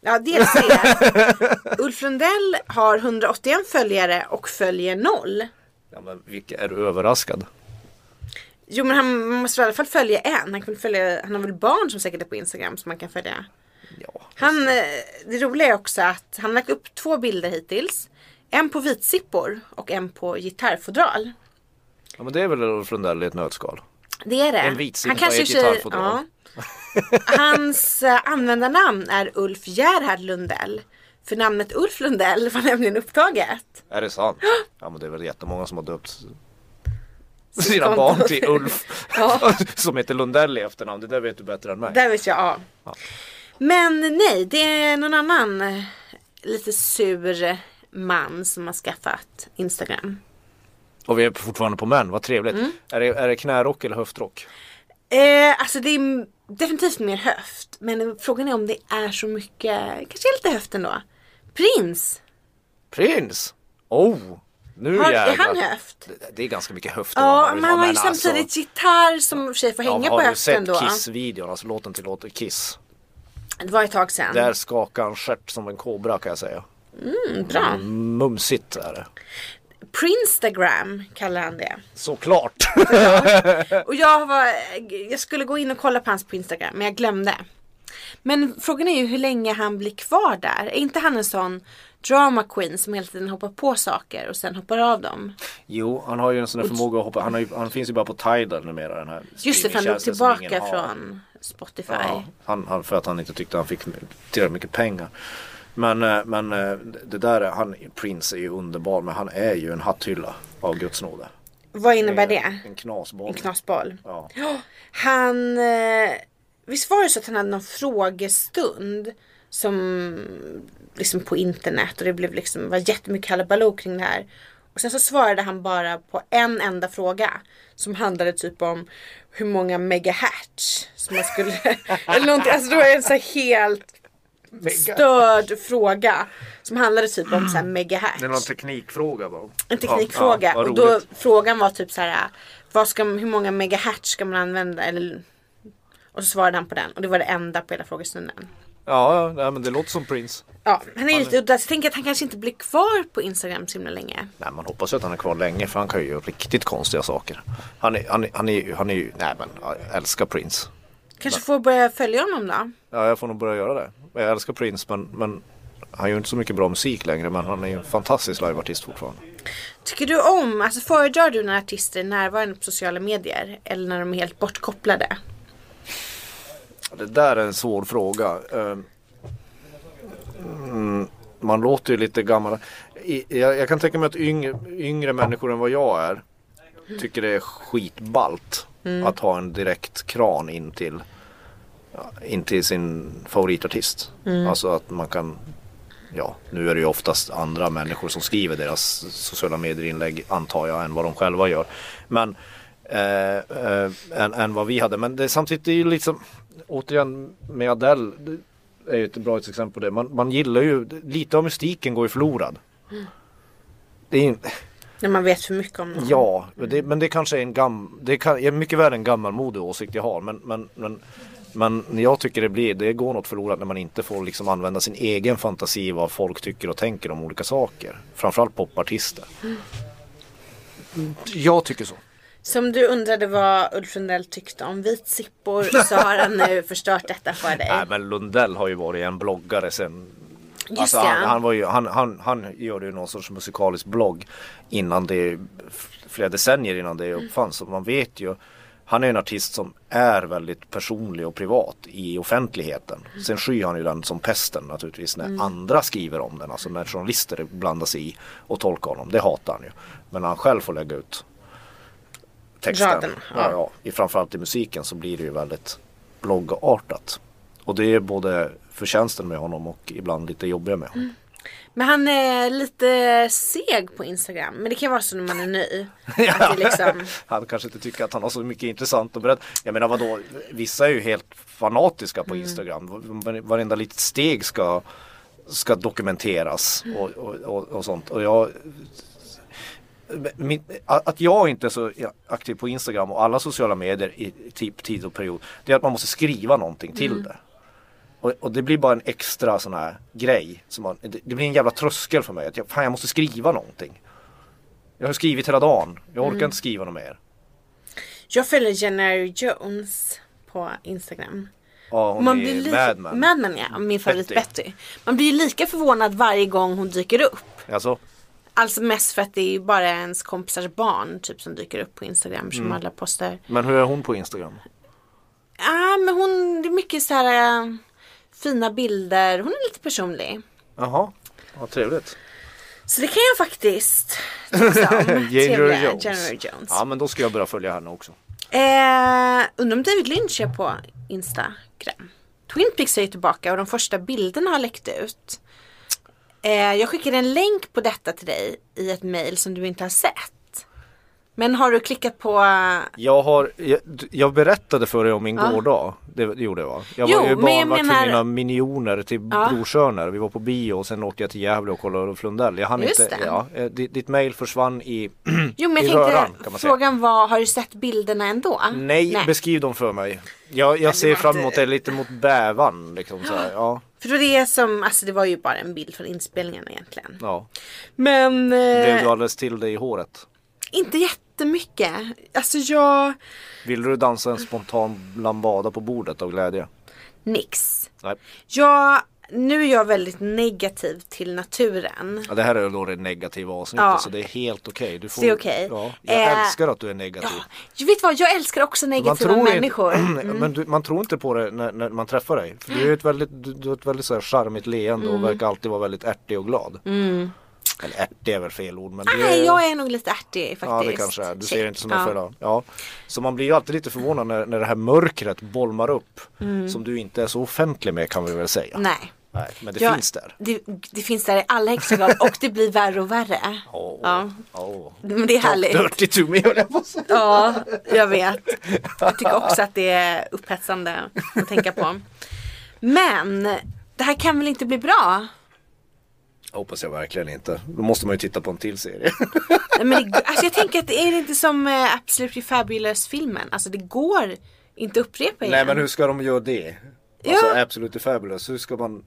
[SPEAKER 2] Ja, dels det. Ulf Lundell har 181 följare och följer noll.
[SPEAKER 3] Ja, men vilka är du överraskad?
[SPEAKER 2] Jo, men han måste i alla fall följa en. Han, kan följa, han har väl barn som säkert är på Instagram som man kan följa.
[SPEAKER 3] Ja.
[SPEAKER 2] Han, eh, det roliga är också att han har lagt upp två bilder hittills. En på vitsippor och en på gitarrfodral.
[SPEAKER 3] ja men det är väl Ulf Lundell i ett nötskal.
[SPEAKER 2] Det är det.
[SPEAKER 3] En vitsippa
[SPEAKER 2] Han kanske
[SPEAKER 3] i ett
[SPEAKER 2] tjej-
[SPEAKER 3] gitarrfodral.
[SPEAKER 2] ja. Hans eh, användarnamn är Ulf Gerhard Lundell. För namnet Ulf Lundell var nämligen upptaget.
[SPEAKER 3] Är det sant? Ja men det är väl jättemånga som har döpt sina
[SPEAKER 2] konto.
[SPEAKER 3] barn till Ulf
[SPEAKER 2] Ja.
[SPEAKER 3] som heter Lundell i efternamn. Det där vet du bättre än mig.
[SPEAKER 2] Där vet jag, ja. Men nej, det är någon annan eh, lite sur man som har skaffat Instagram.
[SPEAKER 3] Och vi är fortfarande på män, vad trevligt. Är, det, är det knärock eller höftrock?
[SPEAKER 2] Eh, alltså det är m- definitivt mer höft. Men frågan är om det är så mycket, kanske är lite höft ändå. Prins,
[SPEAKER 3] Prins! Oh! Nu
[SPEAKER 2] har, är
[SPEAKER 3] jävlar.
[SPEAKER 2] han höft?
[SPEAKER 3] Det- Det är ganska mycket höft. om man
[SPEAKER 2] Ja,
[SPEAKER 3] vill
[SPEAKER 2] men
[SPEAKER 3] ha,
[SPEAKER 2] han har ju
[SPEAKER 3] alltså-
[SPEAKER 2] samtidigt gitarr som i och för sig får
[SPEAKER 3] Ja, Mm.
[SPEAKER 2] hänga
[SPEAKER 3] men
[SPEAKER 2] på
[SPEAKER 3] Har du
[SPEAKER 2] höften
[SPEAKER 3] sett
[SPEAKER 2] då.
[SPEAKER 3] Kiss-videon, alltså låten till låten Kiss?
[SPEAKER 2] Det var ett tag sedan.
[SPEAKER 3] Där skakar han stjärt som en kobra kan jag säga.
[SPEAKER 2] Bra.
[SPEAKER 3] Mm. Mumsigt är det.
[SPEAKER 2] Prinstagram kallar han det.
[SPEAKER 3] Såklart!
[SPEAKER 2] Och jag, var, jag skulle gå in och kolla på hans på Instagram men jag glömde. Men frågan är ju hur länge han blir kvar där. Är inte han en sån drama queen som hela tiden hoppar på saker och sen hoppar av dem?
[SPEAKER 3] Jo, han har ju en sån där förmåga att hoppa. Han, har ju, han finns ju bara på Tidal numera den här
[SPEAKER 2] Just det, för han drog
[SPEAKER 3] streamingtjänsten som ingen
[SPEAKER 2] tillbaka
[SPEAKER 3] har.
[SPEAKER 2] från Spotify.
[SPEAKER 3] Ja, han, han, för att han inte tyckte han fick tillräckligt mycket pengar. Men, eh, men eh, det där, är- han, Prince är ju underbar men han är ju en hatthylla av guds nåde.
[SPEAKER 2] Vad innebär det?
[SPEAKER 3] En knasboll.
[SPEAKER 2] En knasboll.
[SPEAKER 3] Ja.
[SPEAKER 2] Ja, Han... eh, Visst var det så att han hade någon frågestund som liksom på internet och det blev liksom var jättemycket halabaloo kring det här. Och sen så svarade han bara på en enda fråga som handlade typ om hur många megahertz som man skulle eller någonting. Alltså det var en så här helt störd fråga som handlade typ om så här megahertz.
[SPEAKER 3] teknikfråga bara.
[SPEAKER 2] En teknikfråga.
[SPEAKER 3] Ja, vad
[SPEAKER 2] och då
[SPEAKER 3] roligt.
[SPEAKER 2] frågan var typ så här. Vad ska, hur många megahertz ska man använda? Eller, och så svarade han på den. Och det var det enda på hela frågestunden.
[SPEAKER 3] Ja, ja, nej, men det låter som Prince.
[SPEAKER 2] Ja, han är lite udda. Så jag tänker att han kanske inte blir kvar på Instagram så himla länge.
[SPEAKER 3] Nej man hoppas ju att han är kvar länge för han kan ju göra riktigt konstiga saker. Han är, han, är- han är, ju- han är ju, nej men jag älskar Prince.
[SPEAKER 2] Kanske får börja följa honom då.
[SPEAKER 3] Ja jag får nog börja göra det. Jag älskar Prince men, men han gör inte så mycket bra musik längre men han är ju en fantastisk liveartist fortfarande.
[SPEAKER 2] Tycker du om, alltså föredrar du när artister är närvarande på sociala medier? Eller när de är helt bortkopplade?
[SPEAKER 3] Det där är en svår fråga. Eh, Mm, man låter ju lite gammal. I- Jag, jag kan tänka mig att yngre, yngre människor än vad jag är tycker det är skitballt att ha en direkt kran in till, ja, in till sin favoritartist. Alltså att man kan Ja, nu är det ju oftast andra människor som skriver deras sociala medier-inlägg antar jag än vad de själva gör. Men eh, eh, än, än vad vi hade. Men det, samtidigt det är ju liksom återigen med Adele det är ju ett bra exempel på det. Man, man gillar ju, lite av mystiken går ju förlorad. Det är, ju-
[SPEAKER 2] När man vet för mycket om någon.
[SPEAKER 3] ja, men det, men det kanske är en gam, det kan, är mycket väl en gammalmodig åsikt jag har. Men, men, men, men jag tycker det blir, det går något förlorat när man inte får liksom använda sin egen fantasi vad folk tycker och tänker om olika saker. Framförallt popartister. Jag tycker så.
[SPEAKER 2] Som du undrade vad Ulf Lundell tyckte om vitsippor så har han nu förstört detta för dig.
[SPEAKER 3] Nej men Lundell har ju varit en bloggare sen
[SPEAKER 2] Just
[SPEAKER 3] Alltså,
[SPEAKER 2] det.
[SPEAKER 3] han, han, var ju, han, han, han gjorde ju någon sorts musikalisk blogg innan det, flera decennier innan det uppfanns. Och man vet ju, han är en artist som är väldigt personlig och privat i offentligheten. Sen skyr han ju den som pesten naturligtvis när
[SPEAKER 2] Mm.
[SPEAKER 3] andra skriver om den. Alltså när journalister blandar sig i och tolkar honom. Det hatar han ju. Men när han själv får lägga ut texten.
[SPEAKER 2] Raderna, ja.
[SPEAKER 3] ja, ja, i, framförallt i musiken så blir det ju väldigt bloggartat. Och det är både förtjänsten med honom och ibland lite jobbiga med honom.
[SPEAKER 2] Men han är lite seg på Instagram. Men det kan vara så när man är ny. Att det liksom,
[SPEAKER 3] Han kanske inte tycker att han har så mycket intressant att berätta. Jag menar vadå, vissa är ju helt fanatiska
[SPEAKER 2] Mm.
[SPEAKER 3] på Instagram. Var- Varenda litet steg ska, ska dokumenteras
[SPEAKER 2] Mm.
[SPEAKER 3] och, och, och, och sånt. Och jag, min, att jag inte är så aktiv på Instagram och alla sociala medier i typ tid och period. Det är att man måste skriva någonting till
[SPEAKER 2] Mm.
[SPEAKER 3] det. Och, och det blir bara en extra sån här grej. Som man, det, det blir en jävla tröskel för mig. Att jag, fan jag måste skriva någonting. Jag har skrivit hela dagen. Jag
[SPEAKER 2] Mm.
[SPEAKER 3] orkar inte skriva något mer.
[SPEAKER 2] jag följer Jenner Jones på Instagram.
[SPEAKER 3] Ja, hon
[SPEAKER 2] Man
[SPEAKER 3] är
[SPEAKER 2] blir li-
[SPEAKER 3] Mad Men.
[SPEAKER 2] Madman ja, min favorit
[SPEAKER 3] Betty.
[SPEAKER 2] Betty. Man blir ju lika förvånad varje gång hon dyker upp.
[SPEAKER 3] Alltså,
[SPEAKER 2] Alltså mest för att det är ju bara ens kompisars barn typ som dyker upp på Instagram som alla postar.
[SPEAKER 3] men hur är hon på Instagram?
[SPEAKER 2] Ja men hon, det är mycket så här äh, fina bilder. Hon är lite personlig.
[SPEAKER 3] Jaha, vad trevligt.
[SPEAKER 2] Så det kan jag faktiskt tipsa om. Trevliga Jennifer Jones.
[SPEAKER 3] Ja, men då ska jag börja följa henne också.
[SPEAKER 2] Eh, undrar om David Lynch är på Instagram. Twin Peaks är ju tillbaka och de första bilderna har läckt ut. Eh, jag skickade en länk på detta till dig i ett mail som du inte har sett. Men har du klickat på...
[SPEAKER 3] Jag, har, jag, jag berättade för dig om min gårdag. Det, det gjorde jag va? Jag
[SPEAKER 2] Jo,
[SPEAKER 3] var ju
[SPEAKER 2] men jag
[SPEAKER 3] barnvakt
[SPEAKER 2] menar-
[SPEAKER 3] för mina minioner till
[SPEAKER 2] Ja.
[SPEAKER 3] brorsöner. Vi var på bio och sen åkte jag till Gävle och kollade Ulf Lundell. Jag hann
[SPEAKER 2] Just
[SPEAKER 3] inte,
[SPEAKER 2] det.
[SPEAKER 3] ja, eh, ditt, ditt mail försvann i,
[SPEAKER 2] Jo men
[SPEAKER 3] i
[SPEAKER 2] jag tänkte,
[SPEAKER 3] röran kan man säga.
[SPEAKER 2] frågan var, har du sett bilderna ändå?
[SPEAKER 3] Nej, beskriv dem för mig. Jag, jag ser
[SPEAKER 2] var
[SPEAKER 3] fram
[SPEAKER 2] inte-
[SPEAKER 3] emot det lite mot bävan liksom så här. Ja,
[SPEAKER 2] För det var det som, alltså det var ju bara en bild från inspelningen egentligen.
[SPEAKER 3] ja.
[SPEAKER 2] Men... eh,
[SPEAKER 3] Blev du alldeles till dig i håret?
[SPEAKER 2] Inte jättemycket. Alltså jag...
[SPEAKER 3] Vill du dansa en spontan lambada på bordet av glädje?
[SPEAKER 2] Nix.
[SPEAKER 3] Nej.
[SPEAKER 2] Jag nu är jag väldigt negativ till naturen.
[SPEAKER 3] Ja, det här är då det negativa avsnittet
[SPEAKER 2] Ja.
[SPEAKER 3] så det är helt okej. Du får-
[SPEAKER 2] Det är okej.
[SPEAKER 3] Ja, jag
[SPEAKER 2] Eh,
[SPEAKER 3] älskar att du är negativ.
[SPEAKER 2] Ja, vet du vad, jag älskar också negativa
[SPEAKER 3] inte-
[SPEAKER 2] människor. Mm.
[SPEAKER 3] men du, man tror inte på det när, när man träffar dig. För du är ett väldigt, du, du har ett väldigt så här charmigt leende
[SPEAKER 2] Mm.
[SPEAKER 3] och verkar alltid vara väldigt ärtig och glad. Eller ärtig är väl fel ord men det
[SPEAKER 2] Nej, jag är nog lite ärtig
[SPEAKER 3] Ja
[SPEAKER 2] faktiskt.
[SPEAKER 3] det kanske är, du ser
[SPEAKER 2] Check.
[SPEAKER 3] inte som
[SPEAKER 2] Ja.
[SPEAKER 3] en ja. ja. Så man blir ju alltid lite förvånad när, när det här mörkret bolmar upp Som du inte är så offentlig med kan vi väl säga
[SPEAKER 2] Mm. Nej.
[SPEAKER 3] Nej, Men det
[SPEAKER 2] Jag-
[SPEAKER 3] finns där
[SPEAKER 2] Det, det finns där i alla hexagon och det blir värre och värre.
[SPEAKER 3] Åh,
[SPEAKER 2] Ja.
[SPEAKER 3] åh.
[SPEAKER 2] Men det är härligt.
[SPEAKER 3] Dirty to me höll jag på att säga.
[SPEAKER 2] Ja, jag vet. Jag tycker också att det är upphetsande att tänka på. Men det här kan väl inte bli bra?
[SPEAKER 3] Hoppas jag verkligen inte Då måste man ju titta på en till serie
[SPEAKER 2] Nej, Men det, alltså jag tänker att det är inte som eh, Absolutely Fabulous filmen. Alltså det går inte att upprepa igen.
[SPEAKER 3] Nej men hur ska de göra det?
[SPEAKER 2] Ja.
[SPEAKER 3] Alltså Absolutely Fabulous, hur ska man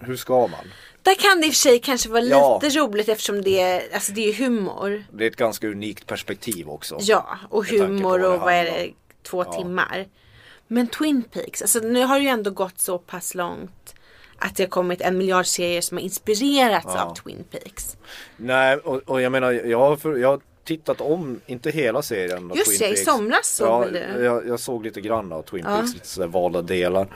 [SPEAKER 3] Hur ska man?
[SPEAKER 2] Där kan det i och för sig kanske vara
[SPEAKER 3] Ja.
[SPEAKER 2] lite roligt eftersom det är, alltså det är ju humor.
[SPEAKER 3] Det är ett ganska unikt perspektiv också
[SPEAKER 2] Ja, och
[SPEAKER 3] Med tanke på
[SPEAKER 2] humor
[SPEAKER 3] vad det
[SPEAKER 2] och vad är
[SPEAKER 3] handlar om.
[SPEAKER 2] det, två timmar. Men Twin Peaks, alltså nu har det ju ändå gått så pass långt att det har kommit en miljard serier som har inspirerats av Twin Peaks.
[SPEAKER 3] Nej och, och jag menar jag har, för, jag har tittat om, inte hela serien av
[SPEAKER 2] Just
[SPEAKER 3] Twin
[SPEAKER 2] det, i
[SPEAKER 3] Peaks.
[SPEAKER 2] somras såg
[SPEAKER 3] ja,
[SPEAKER 2] väl du?
[SPEAKER 3] Jag, jag såg lite grann av Twin Peaks, lite sådär valda delar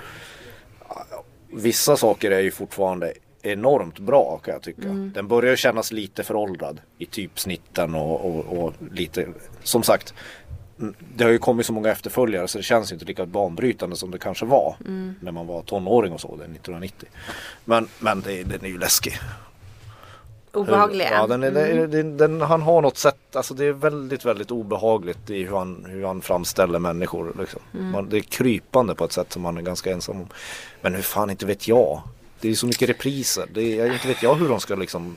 [SPEAKER 3] Vissa saker är ju fortfarande enormt bra kan jag tycka.
[SPEAKER 2] Mm.
[SPEAKER 3] Den börjar ju kännas lite föråldrad i typsnitten och, och, och lite Som sagt mm, Det har ju kommit så många efterföljare så det känns ju inte lika banbrytande som det kanske var
[SPEAKER 2] Mm.
[SPEAKER 3] När man var tonåring och så det 1990 Men, men det, den är ju läskig
[SPEAKER 2] Obehagliga.
[SPEAKER 3] Ja, den, är, den, den, den, han har något sätt, alltså det är väldigt, väldigt obehagligt i hur han, hur han framställer människor. Liksom. Man, det är krypande på ett sätt som man är ganska ensam om. Men hur fan, inte vet jag. Det är så mycket repriser. Det är, jag- inte vet jag hur de ska liksom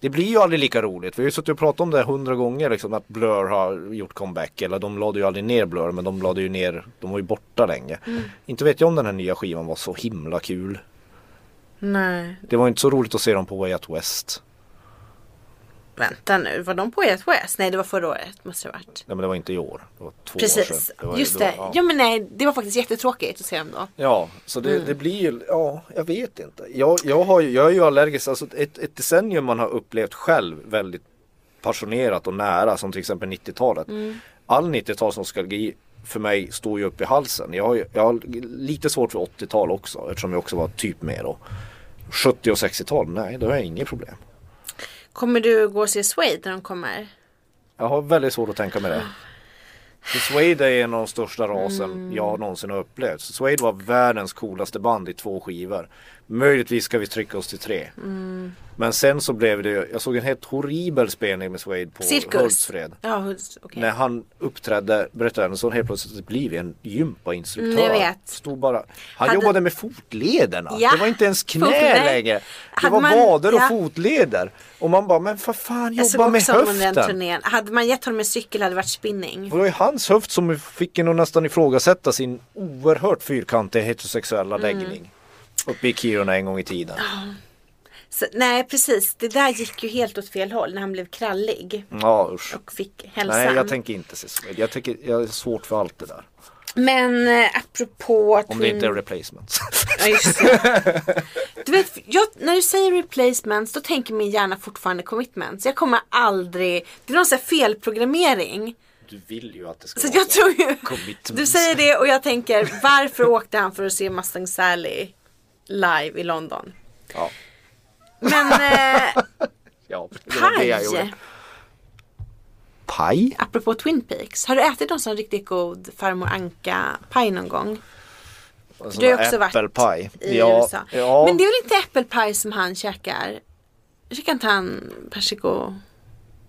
[SPEAKER 3] det blir ju aldrig lika roligt. Vi har ju suttit och pratat om det hundra gånger liksom att Blur har gjort comeback. Eller de lade ju aldrig ner Blur men de lade ju ner, de var ju borta länge. Inte vet jag om den här nya skivan var så himla kul.
[SPEAKER 2] Nej,
[SPEAKER 3] Det var inte så roligt att se dem på Way Out West.
[SPEAKER 2] vänta nu, var de på E ett West? Nej, det var förra året måste det ha varit.
[SPEAKER 3] Nej men det var inte i år, det var två år
[SPEAKER 2] Precis,
[SPEAKER 3] sedan. var,
[SPEAKER 2] just
[SPEAKER 3] var-
[SPEAKER 2] det. Ja. men nej, det var faktiskt jättetråkigt att se dem då.
[SPEAKER 3] Ja, så det,
[SPEAKER 2] Mm.
[SPEAKER 3] det blir ju, ja jag vet inte. Jag, jag, har, ju- jag är ju allergisk, alltså ett, ett decennium man har upplevt själv väldigt passionerat och nära som till exempel 90-talet.
[SPEAKER 2] Mm.
[SPEAKER 3] All 90-talsnostalgi för mig står ju upp i halsen. Jag har, ju- jag har lite svårt för 80-tal också eftersom jag också var typ med då. 70 och 60-tal, nej då har jag inget problem.
[SPEAKER 2] Kommer du gå och se Suede när de kommer?
[SPEAKER 3] Jag har väldigt svårt att tänka mig det. Så Suede är en av de största rasen
[SPEAKER 2] Mm.
[SPEAKER 3] jag någonsin har upplevt. Så Suede var världens coolaste band i två skivor. Möjligtvis ska vi trycka oss till tre.
[SPEAKER 2] Mm.
[SPEAKER 3] Men sen så blev det, jag såg en helt horribel spelning med Suede på
[SPEAKER 2] Cirkus?
[SPEAKER 3] Hultsfred.
[SPEAKER 2] Ja, Hults- okej.
[SPEAKER 3] När han uppträdde, Brett Anderson helt plötsligt blev en gympainstruktör.
[SPEAKER 2] Mm, jag vet.
[SPEAKER 3] Stod bara, han
[SPEAKER 2] Hade-
[SPEAKER 3] jobbade med fotlederna.
[SPEAKER 2] Ja,
[SPEAKER 3] Det var inte ens knä
[SPEAKER 2] fotleder.
[SPEAKER 3] längre. Det
[SPEAKER 2] Hade
[SPEAKER 3] var
[SPEAKER 2] man-
[SPEAKER 3] vader och
[SPEAKER 2] ja.
[SPEAKER 3] fotleder. Och man bara, men vad fan
[SPEAKER 2] Jag
[SPEAKER 3] jobba
[SPEAKER 2] såg
[SPEAKER 3] med
[SPEAKER 2] också honom under den
[SPEAKER 3] höften.
[SPEAKER 2] turnén. Hade man gett honom en cykel hade det varit spinning.
[SPEAKER 3] Det var ju hans höft som fick en att nästan ifrågasätta sin oerhört fyrkantiga heterosexuella
[SPEAKER 2] Mm.
[SPEAKER 3] läggning. Uppe i Kiruna en gång i tiden.
[SPEAKER 2] Ah. Så, nej precis, det där gick ju helt åt fel håll när han blev krallig
[SPEAKER 3] Ja usch.
[SPEAKER 2] och fick hälsan.
[SPEAKER 3] Nej jag tänker inte se Suede. Jag, tänker, jag är svårt för allt det där.
[SPEAKER 2] Men eh, apropå
[SPEAKER 3] Om det
[SPEAKER 2] Twin-
[SPEAKER 3] inte är replacements.
[SPEAKER 2] Ja, just det. Du vet, jag, när du säger replacements då tänker min hjärna fortfarande commitments. Jag kommer aldrig, det är någon sån här felprogrammering.
[SPEAKER 3] du vill ju att det ska
[SPEAKER 2] Så jag tror ju,
[SPEAKER 3] Commitments.
[SPEAKER 2] du säger det och jag tänker varför åkte han för att se Mustang Sally live i London?
[SPEAKER 3] Ja.
[SPEAKER 2] Men eh,
[SPEAKER 3] Ja, det var det jag gjorde.
[SPEAKER 2] paj,
[SPEAKER 3] Paj?
[SPEAKER 2] apropå Twin Peaks, har du ätit någon sån riktigt god farmor Anka-paj någon gång?
[SPEAKER 3] Alltså,
[SPEAKER 2] Du har också varit
[SPEAKER 3] äppelpaj.
[SPEAKER 2] i
[SPEAKER 3] ja,
[SPEAKER 2] USA.
[SPEAKER 3] Ja.
[SPEAKER 2] Men det är väl inte äppelpaj som han käkar? Käkar inte han persiko?
[SPEAKER 3] Är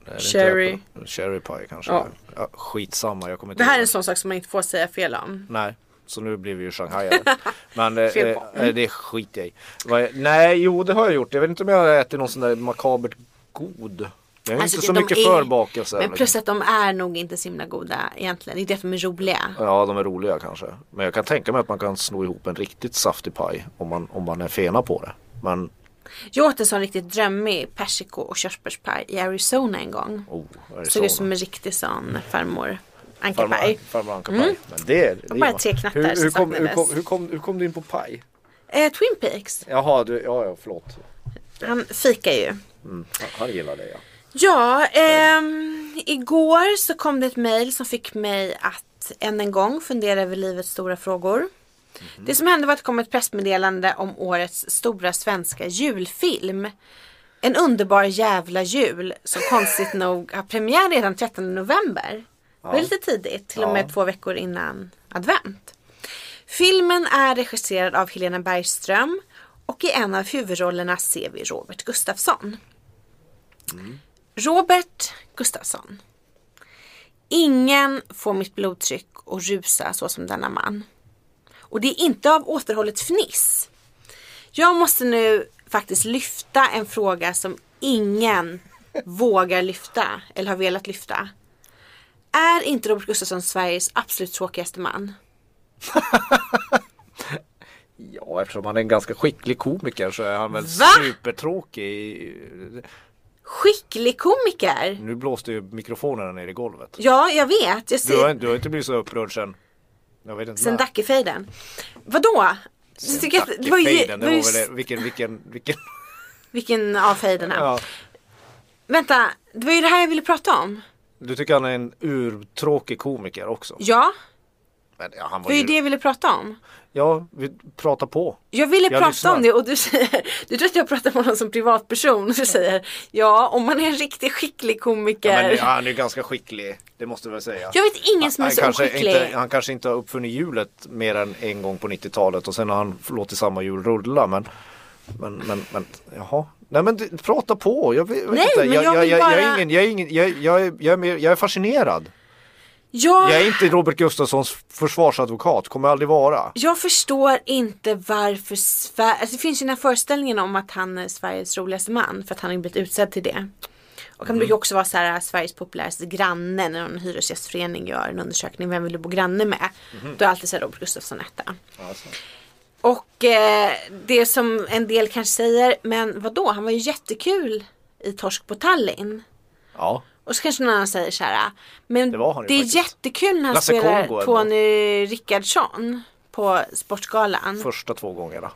[SPEAKER 3] det inte
[SPEAKER 2] Cherry.
[SPEAKER 3] äppel- Cherry pie kanske. Ja.
[SPEAKER 2] Ja.
[SPEAKER 3] skitsamma, jag kommer inte
[SPEAKER 2] Det här är
[SPEAKER 3] ihåg.
[SPEAKER 2] en sån sak som man inte får säga fel om.
[SPEAKER 3] Nej, så nu blir vi ju shanghajare. Men eh,
[SPEAKER 2] Fel
[SPEAKER 3] eh, eh, det skiter jag i. Vad- Nej, jo det har jag gjort. Jag vet inte om jag har ätit någon sån där makabert god. Jag är
[SPEAKER 2] Alltså,
[SPEAKER 3] inte så
[SPEAKER 2] de
[SPEAKER 3] mycket liksom.
[SPEAKER 2] är-
[SPEAKER 3] för bakelser.
[SPEAKER 2] Men plus att de är nog inte så himla goda egentligen. Det är därför de är roliga.
[SPEAKER 3] Ja, de är roliga kanske. Men jag kan tänka mig att man kan sno ihop en riktigt saftig paj om man, om man är fena på det. Men,
[SPEAKER 2] Jag åt en sån riktigt drömmig persiko och körsbärspaj i Arizona en gång.
[SPEAKER 3] oh, är det
[SPEAKER 2] Såg ut
[SPEAKER 3] så?
[SPEAKER 2] som en riktig sån farmor
[SPEAKER 3] Farmor
[SPEAKER 2] Anka-paj.
[SPEAKER 3] Farmor Anka paj. Men det, det
[SPEAKER 2] Mm. bara
[SPEAKER 3] gör man.
[SPEAKER 2] tre knattar
[SPEAKER 3] hur, hur,
[SPEAKER 2] som
[SPEAKER 3] kom, hur,
[SPEAKER 2] saknades.
[SPEAKER 3] kom, hur, kom, hur kom du in på paj?
[SPEAKER 2] Eh, Twin Peaks.
[SPEAKER 3] Jaha, du, ja, ja förlåt.
[SPEAKER 2] Han fikar ju.
[SPEAKER 3] Mm. Han, han gillar det ja.
[SPEAKER 2] Ja, ehm, igår så kom det ett mejl som fick mig att än en gång fundera över livets stora frågor. Det som hände var att det kom ett pressmeddelande om årets stora svenska julfilm. En underbar jävla jul som konstigt nog har premiär redan 13 november. Det var lite tidigt, till och med
[SPEAKER 3] Ja.
[SPEAKER 2] två veckor innan advent. Filmen är regisserad av Helena Bergström och i en av huvudrollerna ser vi Robert Gustafsson. Robert Gustafsson. Ingen får mitt blodtryck att rusa så som denna man. Och det är inte av återhållet fniss. Jag måste nu faktiskt lyfta en fråga som ingen vågar lyfta eller har velat lyfta. Är inte Robert Gustafsson Sveriges absolut tråkigaste man?
[SPEAKER 3] Ja, eftersom han är en ganska skicklig komiker så är han väl
[SPEAKER 2] Va?
[SPEAKER 3] supertråkig.
[SPEAKER 2] Skicklig komiker!
[SPEAKER 3] Nu blåste ju mikrofonerna ner i golvet.
[SPEAKER 2] Ja, jag vet. Jag
[SPEAKER 3] Du har,
[SPEAKER 2] ser,
[SPEAKER 3] du har inte blivit så upprörd sen... Jag vet inte
[SPEAKER 2] sen
[SPEAKER 3] när.
[SPEAKER 2] Dackefejden. Vadå? Du tycker att- det var ju-
[SPEAKER 3] Dackefejden, det
[SPEAKER 2] var ju
[SPEAKER 3] var väl
[SPEAKER 2] s-
[SPEAKER 3] det. Vilken, vilken, vilken...
[SPEAKER 2] Vilken av fejderna?
[SPEAKER 3] Ja.
[SPEAKER 2] Vänta, det var ju det här jag ville prata om.
[SPEAKER 3] Du tycker han är en urtråkig komiker också?
[SPEAKER 2] Ja,
[SPEAKER 3] Men, ja, han
[SPEAKER 2] det
[SPEAKER 3] var
[SPEAKER 2] var ju det
[SPEAKER 3] ju...
[SPEAKER 2] jag ville prata om.
[SPEAKER 3] Ja, vi pratar på.
[SPEAKER 2] Jag ville
[SPEAKER 3] Jag
[SPEAKER 2] prata
[SPEAKER 3] lyssnar.
[SPEAKER 2] om det och du säger, du tror att jag pratar med honom som privatperson och du säger ja, om man är en riktigt skicklig
[SPEAKER 3] Ja,
[SPEAKER 2] komiker.
[SPEAKER 3] men det- han är ju ganska skicklig, det måste jag väl säga.
[SPEAKER 2] Jag vet ingen som är
[SPEAKER 3] Han
[SPEAKER 2] så
[SPEAKER 3] kanske,
[SPEAKER 2] oskicklig.
[SPEAKER 3] inte, han kanske inte har uppfunnit hjulet mer än en gång på 90-talet och sen har han låtit samma hjul rulla men men, men, men jaha. Nej men det- prata på. Jag vet, vet
[SPEAKER 2] Nej,
[SPEAKER 3] inte.
[SPEAKER 2] men jag
[SPEAKER 3] jag,
[SPEAKER 2] vill
[SPEAKER 3] jag, jag,
[SPEAKER 2] bara-
[SPEAKER 3] är ingen, jag är ingen, jag, jag, är- jag, är mer, jag är fascinerad.
[SPEAKER 2] Jag,
[SPEAKER 3] Jag är
[SPEAKER 2] jag,
[SPEAKER 3] inte Robert Gustafssons försvarsadvokat, kommer aldrig vara.
[SPEAKER 2] förstår inte varför Sverige, alltså det finns ju den här föreställningen om att han är Sveriges roligaste man för att han har blivit utsedd till det. Och han brukar också vara så här, äh, Sveriges populäraste granne när någon hyresgästförening gör en undersökning, vem vill du bo granne med? Då är alltid så här Robert Gustafsson etta. Och eh, det som en del kanske säger, men vad då? han var ju jättekul i Torsk på Tallinn.
[SPEAKER 3] Ja.
[SPEAKER 2] Och så kanske någon annan säger så här, men det,
[SPEAKER 3] Det var han ju
[SPEAKER 2] är
[SPEAKER 3] faktiskt.
[SPEAKER 2] jättekul när han
[SPEAKER 3] Lasse
[SPEAKER 2] spelar
[SPEAKER 3] Kongo eller
[SPEAKER 2] Tony Rickardsson på Sportgalan.
[SPEAKER 3] Första två gångerna.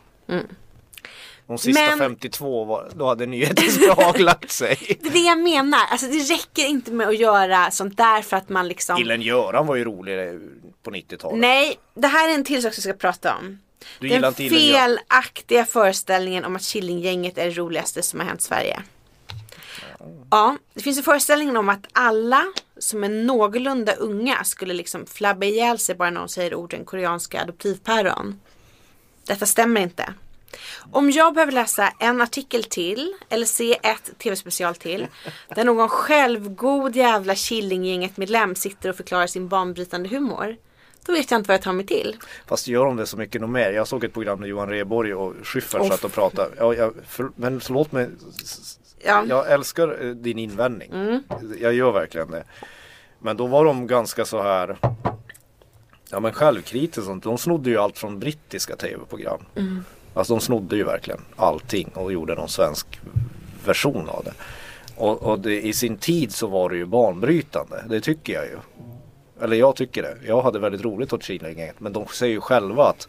[SPEAKER 3] De sista
[SPEAKER 2] Mm. Men-
[SPEAKER 3] 52 var, då hade nyhetens behag lagt sig.
[SPEAKER 2] Det är det jag menar, alltså det räcker inte med att göra sånt där för att man liksom
[SPEAKER 3] Killen Göran var ju rolig på 90-talet.
[SPEAKER 2] Nej, det här är en till sak som vi ska prata om.
[SPEAKER 3] Du gillar
[SPEAKER 2] Den
[SPEAKER 3] inte Killen Göran.
[SPEAKER 2] felaktiga föreställningen om att Killinggänget är det roligaste som har hänt Sverige. Ja, det finns en föreställning om att alla som är någorlunda unga skulle liksom flabba ihjäl sig bara någon säger orden koreanska adoptivpäron. Detta stämmer inte. Om jag behöver läsa en artikel till eller se ett tv-special till där någon självgod jävla Killinggänget medlem sitter och förklarar sin banbrytande humor. Då vet jag inte vad jag tar mig till.
[SPEAKER 3] Fast gör de det så mycket nog mer? Jag såg ett program med Johan Rheborg och Schyffert
[SPEAKER 2] Åh,
[SPEAKER 3] satt och pratade. Ja, jag, för, men förlåt mig, s- s-
[SPEAKER 2] Ja.
[SPEAKER 3] jag älskar eh, din invändning. Jag gör verkligen det. Men då var de ganska så här Ja men självkritiskt och sånt. De snodde ju allt från brittiska tv-program. Alltså de snodde ju verkligen allting och gjorde någon svensk version av det. Och, och det, i sin tid så var det ju banbrytande. Det tycker jag ju. Eller jag tycker det. Jag hade väldigt roligt åt Killinggänget. Men de säger ju själva att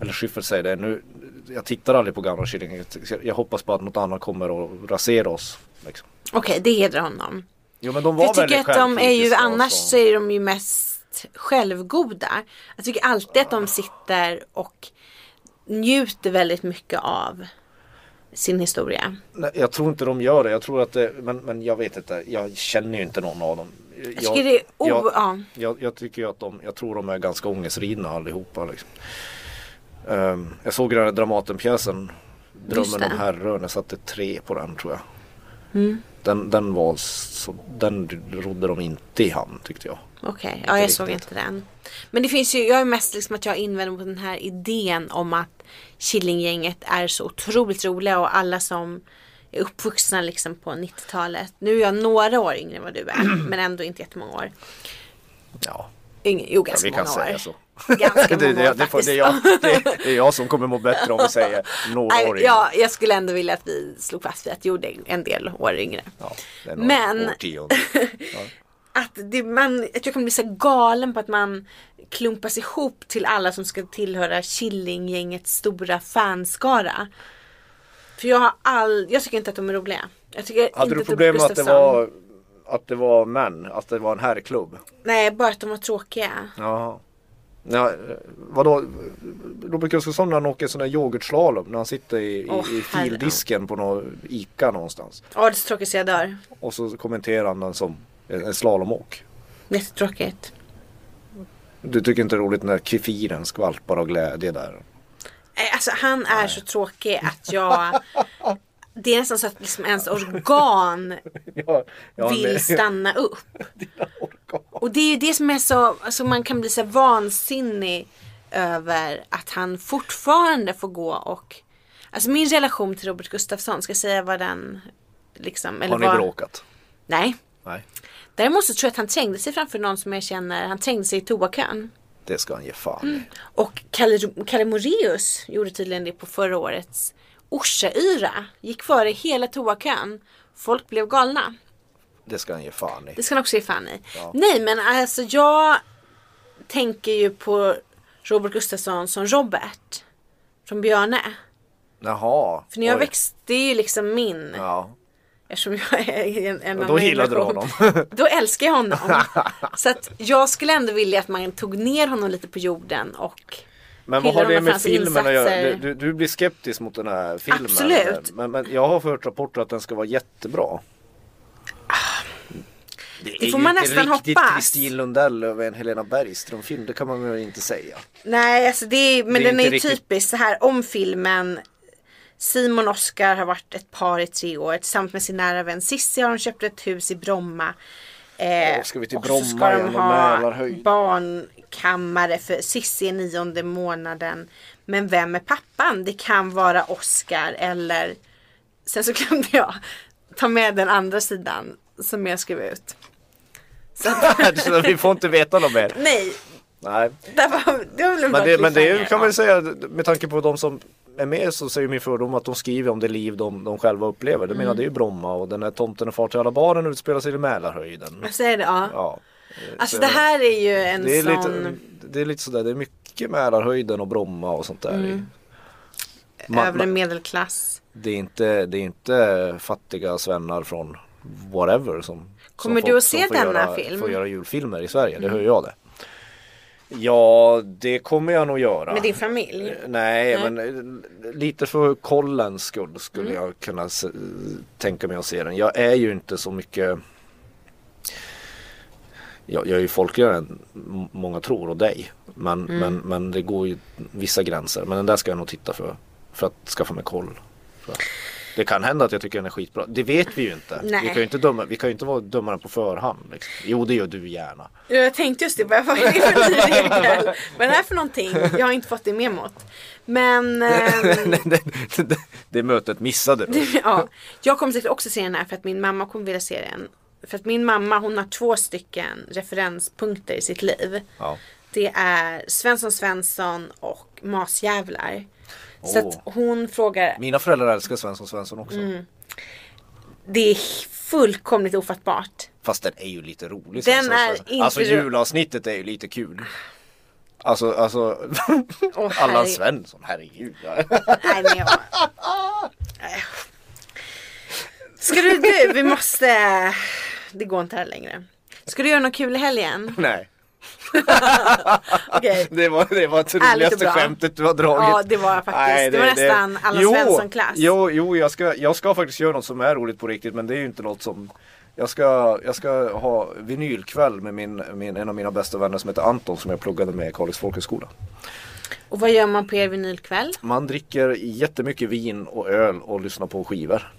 [SPEAKER 3] eller Schyffert säger det nu. Jag tittar aldrig på gamla Killinggänget. Jag hoppas på att något annat kommer och rasera oss. Liksom.
[SPEAKER 2] Okej, det hedrar honom.
[SPEAKER 3] Jo men de var
[SPEAKER 2] För jag tycker
[SPEAKER 3] väldigt
[SPEAKER 2] att de är ju
[SPEAKER 3] självkritiska och
[SPEAKER 2] annars
[SPEAKER 3] så.
[SPEAKER 2] så är de ju mest självgoda. Jag tycker alltid att de sitter och njuter väldigt mycket av sin historia.
[SPEAKER 3] Nej, jag tror inte de gör det. Jag tror att det, men, men jag vet inte. Jag känner ju inte någon av dem. Jag,
[SPEAKER 2] tycker det är o- ja.
[SPEAKER 3] jag, jag, jag tycker ju att de, jag tror de är ganska ångestridna allihopa. Liksom. Ehm, jag såg den här Dramatenpjäsen
[SPEAKER 2] Just
[SPEAKER 3] Drömmen
[SPEAKER 2] det. Mm.
[SPEAKER 3] om Herrön. Jag satte tre på den tror jag. Den, den var så, den rodde de inte i hamn tyckte jag.
[SPEAKER 2] Okej, ja jag såg
[SPEAKER 3] riktigt.
[SPEAKER 2] inte den. Men det finns ju, jag är mest liksom att jag invänder mot den här idén om att Killinggänget är så otroligt roliga och alla som är uppvuxna liksom på 90-talet. Nu är jag några år yngre än vad du är, men ändå inte jättemånga år.
[SPEAKER 3] Ja,
[SPEAKER 2] Yng- jo,
[SPEAKER 3] ja
[SPEAKER 2] ganska
[SPEAKER 3] vi kan
[SPEAKER 2] Alltså, många
[SPEAKER 3] säga
[SPEAKER 2] år.
[SPEAKER 3] så.
[SPEAKER 2] Ganska
[SPEAKER 3] Det, det,
[SPEAKER 2] många
[SPEAKER 3] det,
[SPEAKER 2] år
[SPEAKER 3] det, får-
[SPEAKER 2] faktiskt.
[SPEAKER 3] det, är jag, det, det är jag som kommer må bättre om vi säger några
[SPEAKER 2] Nej,
[SPEAKER 3] år
[SPEAKER 2] ja, jag skulle ändå vilja att vi slog fast vid att jo, det är en del år yngre.
[SPEAKER 3] Ja, det är några
[SPEAKER 2] Men-
[SPEAKER 3] årtionden.
[SPEAKER 2] Att, det, man, att jag kommer bli så här galen på att man klumpas ihop till alla som ska tillhöra Killinggängets stora fanskara. För jag har all, jag tycker inte att de är roliga. Jag tycker inte
[SPEAKER 3] Hade
[SPEAKER 2] typ
[SPEAKER 3] du
[SPEAKER 2] att
[SPEAKER 3] problem med att det
[SPEAKER 2] Gustafsson-
[SPEAKER 3] var att det var män, att det var en herrklubb?
[SPEAKER 2] Nej, bara att de var tråkiga.
[SPEAKER 3] Jaha. Ja, eh, vadå? Robert Gustafsson när han åker sån där yoghurtslalom när han sitter i, i,
[SPEAKER 2] Åh,
[SPEAKER 3] i
[SPEAKER 2] herre.
[SPEAKER 3] fildisken på någon ICA någonstans.
[SPEAKER 2] Ja, det är så tråkigt så jag dör.
[SPEAKER 3] Och så kommenterar han den som en, en slalomåk.
[SPEAKER 2] Jättetråkigt.
[SPEAKER 3] Du tycker inte det är roligt när kefiren skvalpar av glädje där?
[SPEAKER 2] Nej, Alltså han är så tråkig att jag Det är nästan så att liksom ens organ
[SPEAKER 3] Ja, ja, men-
[SPEAKER 2] vill stanna upp. Och det är ju det som är så, alltså man kan bli så här vansinnig över att han fortfarande får gå och Alltså min relation till Robert Gustafsson, ska jag säga vad den liksom eller
[SPEAKER 3] Har ni
[SPEAKER 2] vad-
[SPEAKER 3] bråkat?
[SPEAKER 2] Nej.
[SPEAKER 3] Nej,
[SPEAKER 2] Däremot så tror jag att han trängde sig framför någon som jag känner, han trängde sig i toakön.
[SPEAKER 3] det ska han ge fan
[SPEAKER 2] Mm.
[SPEAKER 3] i.
[SPEAKER 2] Och Kalle, Kalle Moreus gjorde tydligen det på förra årets Orsayra. Gick före hela toakön. Folk blev galna.
[SPEAKER 3] Det ska han ge fan i.
[SPEAKER 2] Det ska han också ge fan i. Nej men alltså jag tänker ju på Robert Gustafsson som Robert. Från Björne.
[SPEAKER 3] Jaha.
[SPEAKER 2] För när jag
[SPEAKER 3] oj.
[SPEAKER 2] växte, det är ju liksom min.
[SPEAKER 3] Ja.
[SPEAKER 2] Eftersom jag är i en, en
[SPEAKER 3] Då
[SPEAKER 2] annan
[SPEAKER 3] gillade du
[SPEAKER 2] relation.
[SPEAKER 3] honom.
[SPEAKER 2] Då älskar jag honom. Så att jag skulle ändå vilja att man tog ner honom lite på jorden och
[SPEAKER 3] Men vad
[SPEAKER 2] Hyllar
[SPEAKER 3] har det
[SPEAKER 2] honom för
[SPEAKER 3] med
[SPEAKER 2] hans
[SPEAKER 3] filmen att göra?
[SPEAKER 2] insatser.
[SPEAKER 3] Du, du, du blir skeptisk mot den här filmen.
[SPEAKER 2] Absolut.
[SPEAKER 3] Men, men jag har hört rapporter att den ska vara jättebra.
[SPEAKER 2] Ah. Det får man nästan
[SPEAKER 3] riktigt
[SPEAKER 2] hoppas.
[SPEAKER 3] Kristin Lundell över en Helena Bergström-film, det kan man väl inte säga.
[SPEAKER 2] Nej, alltså det är, men
[SPEAKER 3] Det är
[SPEAKER 2] den är ju
[SPEAKER 3] inte riktigt-
[SPEAKER 2] typisk så här om filmen. Simon och Oscar har varit ett par i tre år. Tillsammans med sin nära vän Sissi har de köpt ett hus i Bromma. Eh,
[SPEAKER 3] Åh, ska vi till
[SPEAKER 2] och
[SPEAKER 3] Bromma
[SPEAKER 2] så ska de
[SPEAKER 3] igen och
[SPEAKER 2] ha
[SPEAKER 3] Mälarhöjd?
[SPEAKER 2] barnkammare för Sissi är nionde månaden. Men vem är pappan? Det kan vara Oscar eller Sen så glömde jag ta med den andra sidan som jag skrev ut.
[SPEAKER 3] Så vi får inte veta något mer.
[SPEAKER 2] Nej,
[SPEAKER 3] Nej.
[SPEAKER 2] där var, det var väl en bra
[SPEAKER 3] Men det, men det är ju-
[SPEAKER 2] cliffhanger.
[SPEAKER 3] kan man ju säga med tanke på de som är med så säger min fördom att de skriver om det liv de, de själva upplever. Det menar
[SPEAKER 2] Mm.
[SPEAKER 3] det är ju Bromma och den här Tomten och far till alla barnen utspelar sig i Mälarhöjden.
[SPEAKER 2] Jag säger det, ja.
[SPEAKER 3] Ja.
[SPEAKER 2] Alltså
[SPEAKER 3] Så-
[SPEAKER 2] det här är ju en
[SPEAKER 3] Det är,
[SPEAKER 2] sån
[SPEAKER 3] lite, det är lite sådär, det är mycket Mälarhöjden och Bromma och sånt där.
[SPEAKER 2] Mm.
[SPEAKER 3] i. Ma-
[SPEAKER 2] övre
[SPEAKER 3] ma-
[SPEAKER 2] medelklass.
[SPEAKER 3] det, är inte, det är inte fattiga svennar från whatever som
[SPEAKER 2] Kommer
[SPEAKER 3] som
[SPEAKER 2] du
[SPEAKER 3] får-
[SPEAKER 2] att
[SPEAKER 3] som
[SPEAKER 2] se
[SPEAKER 3] får
[SPEAKER 2] denna
[SPEAKER 3] göra,
[SPEAKER 2] film? Mm.
[SPEAKER 3] Får göra julfilmer i Sverige, det hör jag det. Ja, det kommer jag nog göra.
[SPEAKER 2] Med din familj.
[SPEAKER 3] Nej, men eh, lite för kollens skull skulle jag kunna se, tänka mig att se den. Jag är ju inte så mycket jag, jag är ju folkligare än m- många tror och dig. Men, men, men det går ju vissa gränser. Men den där ska jag nog titta för. För att skaffa mig koll. För att- Det kan hända att jag tycker den är skitbra. Det vet vi ju inte.
[SPEAKER 2] Nej.
[SPEAKER 3] Vi kan ju inte döma, vi kan ju inte vara dömare på förhand. Liksom. Jo, det gör du gärna.
[SPEAKER 2] Jag tänkte just det, bara, vad är det för ny regel? Vad är det här för någonting? Jag har inte fått det memot. Men ehm,
[SPEAKER 3] det, det, det mötet missade du.
[SPEAKER 2] ja, jag kommer säkert också se den här för att min mamma kommer vilja se den. För att min mamma hon har två stycken referenspunkter i sitt liv.
[SPEAKER 3] Ja.
[SPEAKER 2] Det är Svensson Svensson och Masjävlar. Så
[SPEAKER 3] Åh.
[SPEAKER 2] att hon frågar
[SPEAKER 3] Mina föräldrar älskar Svensson Svensson också.
[SPEAKER 2] Mm. Det är fullkomligt ofattbart.
[SPEAKER 3] Fast den är ju lite rolig.
[SPEAKER 2] Den
[SPEAKER 3] så-
[SPEAKER 2] är
[SPEAKER 3] så-
[SPEAKER 2] inte
[SPEAKER 3] alltså
[SPEAKER 2] ro-
[SPEAKER 3] julavsnittet är ju lite kul. Alltså, alltså
[SPEAKER 2] Åh,
[SPEAKER 3] Allan
[SPEAKER 2] herre-
[SPEAKER 3] Svensson, herregud.
[SPEAKER 2] Nej, men jag... Äh. Ska du, du, vi måste... Det går inte här längre. Ska du göra något kul i helgen?
[SPEAKER 3] Nej,
[SPEAKER 2] Okej.
[SPEAKER 3] det var, det var det
[SPEAKER 2] Ärligt och
[SPEAKER 3] roligaste
[SPEAKER 2] bra.
[SPEAKER 3] skämtet du har dragit.
[SPEAKER 2] Ja, det var faktiskt. Det var nästan Allan
[SPEAKER 3] Jo,
[SPEAKER 2] Svensson-klass.
[SPEAKER 3] Jo, jo jag, ska, jag ska faktiskt göra något som är roligt på riktigt men det är ju inte något som jag ska, jag ska ha vinylkväll med min, min, en av mina bästa vänner som heter Anton som jag pluggade med i Kalix folkhögskola.
[SPEAKER 2] Och vad gör man på er vinylkväll?
[SPEAKER 3] Man dricker jättemycket vin och öl och lyssnar på skivor.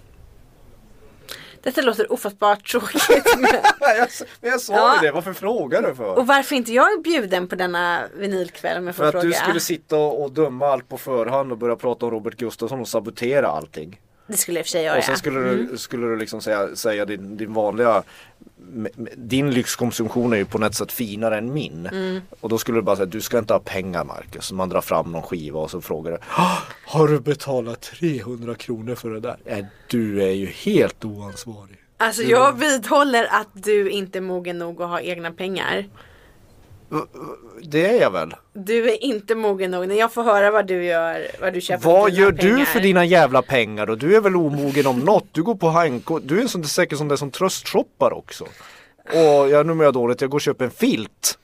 [SPEAKER 2] Detta låter ofattbart tråkigt. men-
[SPEAKER 3] Nej, jag, men jag sa
[SPEAKER 2] Ja.
[SPEAKER 3] ju det, varför frågar du för?
[SPEAKER 2] Och varför inte jag är bjuden på denna vinylkväll om jag får
[SPEAKER 3] För att
[SPEAKER 2] fråga?
[SPEAKER 3] du skulle sitta och, och döma allt på förhand och börja prata om Robert Gustafsson och sabotera allting.
[SPEAKER 2] Det skulle jag i och för sig göra.
[SPEAKER 3] Och sen skulle du, skulle du liksom säga, säga din, din vanliga m- m- din lyxkonsumtion är ju på något sätt finare än min. Och då skulle du bara säga, du ska inte ha pengar Marcus. Man drar fram någon skiva och så frågar du, "Ah, Äh, har du betalat 300 kronor för det där? Nej, du är ju helt oansvarig.
[SPEAKER 2] Alltså jag
[SPEAKER 3] Mm.
[SPEAKER 2] vidhåller att du inte är mogen nog att ha egna pengar.
[SPEAKER 3] Det är jag väl.
[SPEAKER 2] Du är inte mogen nog. När jag får höra vad du gör, vad du köper
[SPEAKER 3] Vad
[SPEAKER 2] för dina
[SPEAKER 3] gör
[SPEAKER 2] pengar.
[SPEAKER 3] du för dina jävla pengar då? Du är väl omogen om något? Du går på Hanko. Du är en sån där säker som det som tröstshoppar också. Och jag, nu mår jag dåligt, jag går och köper en filt.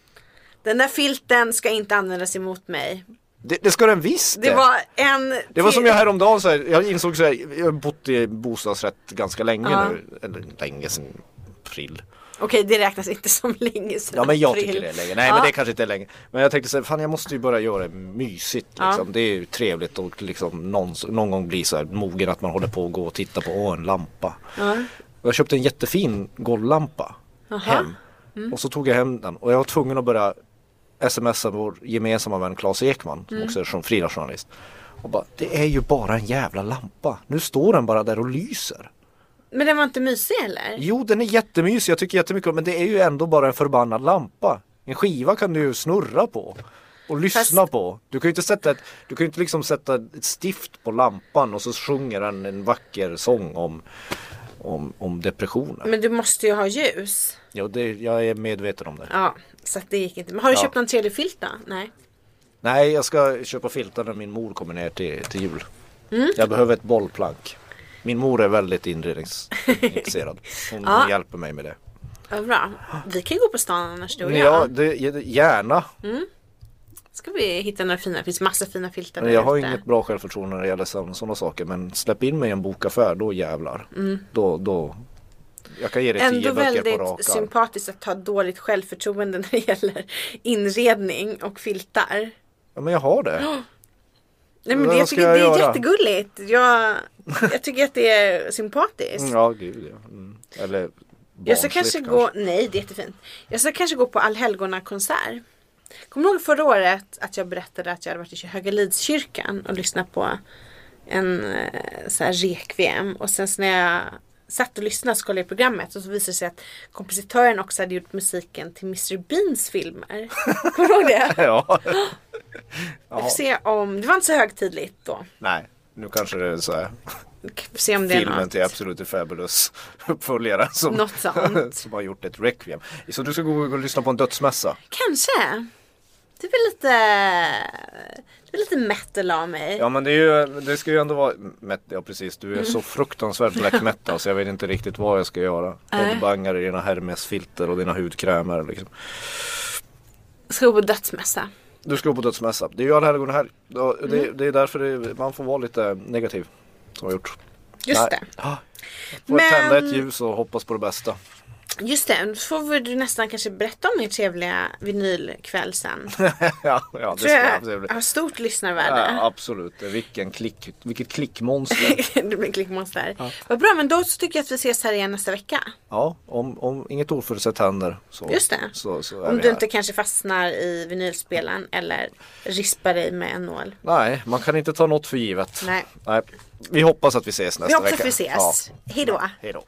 [SPEAKER 2] Den där filten ska inte användas emot mig.
[SPEAKER 3] Det, det ska den visst
[SPEAKER 2] Det var en...
[SPEAKER 3] Det var som jag häromdagen, så här, jag insåg så här, jag har bott i bostadsrätt ganska länge
[SPEAKER 2] Ja.
[SPEAKER 3] nu, eller länge sedan april.
[SPEAKER 2] Okej, det räknas inte som länge sedan
[SPEAKER 3] Ja men jag
[SPEAKER 2] april.
[SPEAKER 3] tycker det är länge, nej
[SPEAKER 2] Ja.
[SPEAKER 3] men det kanske inte är länge. Men jag tänkte så här, fan jag måste ju börja göra det mysigt
[SPEAKER 2] Ja.
[SPEAKER 3] liksom. Det är ju trevligt och liksom någon, någon gång bli så här mogen att man håller på och går och tittar på, åh en lampa.
[SPEAKER 2] Ja.
[SPEAKER 3] Och Jag köpte en jättefin golvlampa hem.
[SPEAKER 2] Mm.
[SPEAKER 3] Och så tog jag hem den och jag var tvungen att börja smsa vår gemensamma vän Claes Ekman
[SPEAKER 2] Mm.
[SPEAKER 3] som också är som frilansjournalist. Och bara, det är ju bara en jävla lampa. Nu står den bara där och lyser.
[SPEAKER 2] Men den var inte mysig eller?
[SPEAKER 3] Jo den är jättemysig, jag tycker jättemycket om men det är ju ändå bara en förbannad lampa. En skiva kan du ju snurra på. Och lyssna
[SPEAKER 2] Fast-
[SPEAKER 3] på. Du kan ju inte sätta ett, du kan ju inte liksom sätta ett stift på lampan och så sjunger den en vacker sång om, om, om depressionen.
[SPEAKER 2] Men du måste ju ha ljus.
[SPEAKER 3] Ja, det, jag är medveten om det.
[SPEAKER 2] Ja, så att det gick inte. Men har du
[SPEAKER 3] Ja.
[SPEAKER 2] köpt någon 3D-filt då? Nej.
[SPEAKER 3] Nej, jag ska köpa filtar när min mor kommer ner till, till jul.
[SPEAKER 2] Mm.
[SPEAKER 3] Jag behöver ett bollplank. Min mor är väldigt inredningsintresserad. Hon
[SPEAKER 2] Ja.
[SPEAKER 3] hjälper mig med det.
[SPEAKER 2] Ja, bra. Vi kan ju gå på stan annars du och
[SPEAKER 3] Ja,
[SPEAKER 2] jag.
[SPEAKER 3] det, gärna.
[SPEAKER 2] Ska vi hitta några fina, det finns massa fina filtar där
[SPEAKER 3] Jag har
[SPEAKER 2] ute.
[SPEAKER 3] inget bra självförtroende när det gäller sådana saker. Men släpp in mig i en bokaffär, då jävlar. Då, då. Jag kan ge dig tio
[SPEAKER 2] Mm. Ändå
[SPEAKER 3] böcker på
[SPEAKER 2] väldigt
[SPEAKER 3] rak arm.
[SPEAKER 2] sympatiskt att ha dåligt självförtroende när det gäller inredning och filtar.
[SPEAKER 3] Ja, men jag har det.
[SPEAKER 2] Nej men det,
[SPEAKER 3] Vad
[SPEAKER 2] jag
[SPEAKER 3] ska
[SPEAKER 2] tycker
[SPEAKER 3] jag
[SPEAKER 2] det är
[SPEAKER 3] göra?
[SPEAKER 2] jättegulligt. Jag, jag tycker att det är sympatiskt.
[SPEAKER 3] Mm, Ja, gud ja. Mm. Eller
[SPEAKER 2] jag ska
[SPEAKER 3] barnsligt
[SPEAKER 2] kanske gå, nej det är jättefint. Jag ska kanske gå på Allhelgonakonsert. Kommer du ihåg förra året att jag berättade att jag hade varit i Högalidskyrkan och lyssnat på en eh, så här rekviem och sen så när jag satt och lyssnade så kollade jag i programmet och så visade det sig att kompositören också hade gjort musiken till Mr Beans filmer. Kommer du ihåg det?
[SPEAKER 3] Ja.
[SPEAKER 2] Vi får se om, det var inte så högtidligt då.
[SPEAKER 3] Nej, nu kanske det är så här.
[SPEAKER 2] Vi får se om det är
[SPEAKER 3] filmen
[SPEAKER 2] något.
[SPEAKER 3] till Absolutely Fabulous uppföljare som,
[SPEAKER 2] Något sånt.
[SPEAKER 3] som har gjort ett requiem. Så du ska gå och lyssna på en dödsmässa?
[SPEAKER 2] Kanske. Det är väl lite, det är lite metal av mig.
[SPEAKER 3] Ja men det, är ju, det ska ju ändå vara, met- ja precis du är så fruktansvärt black metal så jag vet inte riktigt vad jag ska göra. Headbangar i dina Hermes-filter och dina hudkrämer liksom.
[SPEAKER 2] Ska gå på dödsmässa.
[SPEAKER 3] Du ska gå på dödsmässa, det är ju allhelgona här. Ja, Det,
[SPEAKER 2] Mm.
[SPEAKER 3] det är därför det, man får vara lite negativ. Som jag gjort.
[SPEAKER 2] Just
[SPEAKER 3] Nej.
[SPEAKER 2] det.
[SPEAKER 3] Ah. Får
[SPEAKER 2] Men-
[SPEAKER 3] tända ett ljus och hoppas på det bästa.
[SPEAKER 2] Just det, då får väl du nästan kanske berätta om er trevliga vinylkväll sen.
[SPEAKER 3] ja, ja, det
[SPEAKER 2] Tror
[SPEAKER 3] ska jag
[SPEAKER 2] jag
[SPEAKER 3] absolut.
[SPEAKER 2] har stort lyssnarvärde.
[SPEAKER 3] Ja, absolut, vilken klick, vilket klickmonster.
[SPEAKER 2] det blir klickmonster. Vad bra, men då så tycker jag att vi ses här igen nästa vecka.
[SPEAKER 3] Ja, om, om inget oförutsett händer så,
[SPEAKER 2] Just det.
[SPEAKER 3] så, så är
[SPEAKER 2] Om
[SPEAKER 3] vi
[SPEAKER 2] du
[SPEAKER 3] här.
[SPEAKER 2] inte kanske fastnar i vinylspelaren eller rispar dig med en nål.
[SPEAKER 3] Nej, man kan inte ta något för givet.
[SPEAKER 2] Nej.
[SPEAKER 3] Vi hoppas att vi ses
[SPEAKER 2] Vi
[SPEAKER 3] nästa
[SPEAKER 2] hoppas
[SPEAKER 3] vecka.
[SPEAKER 2] att vi ses.
[SPEAKER 3] Ja.
[SPEAKER 2] Hej då.
[SPEAKER 3] Hej då.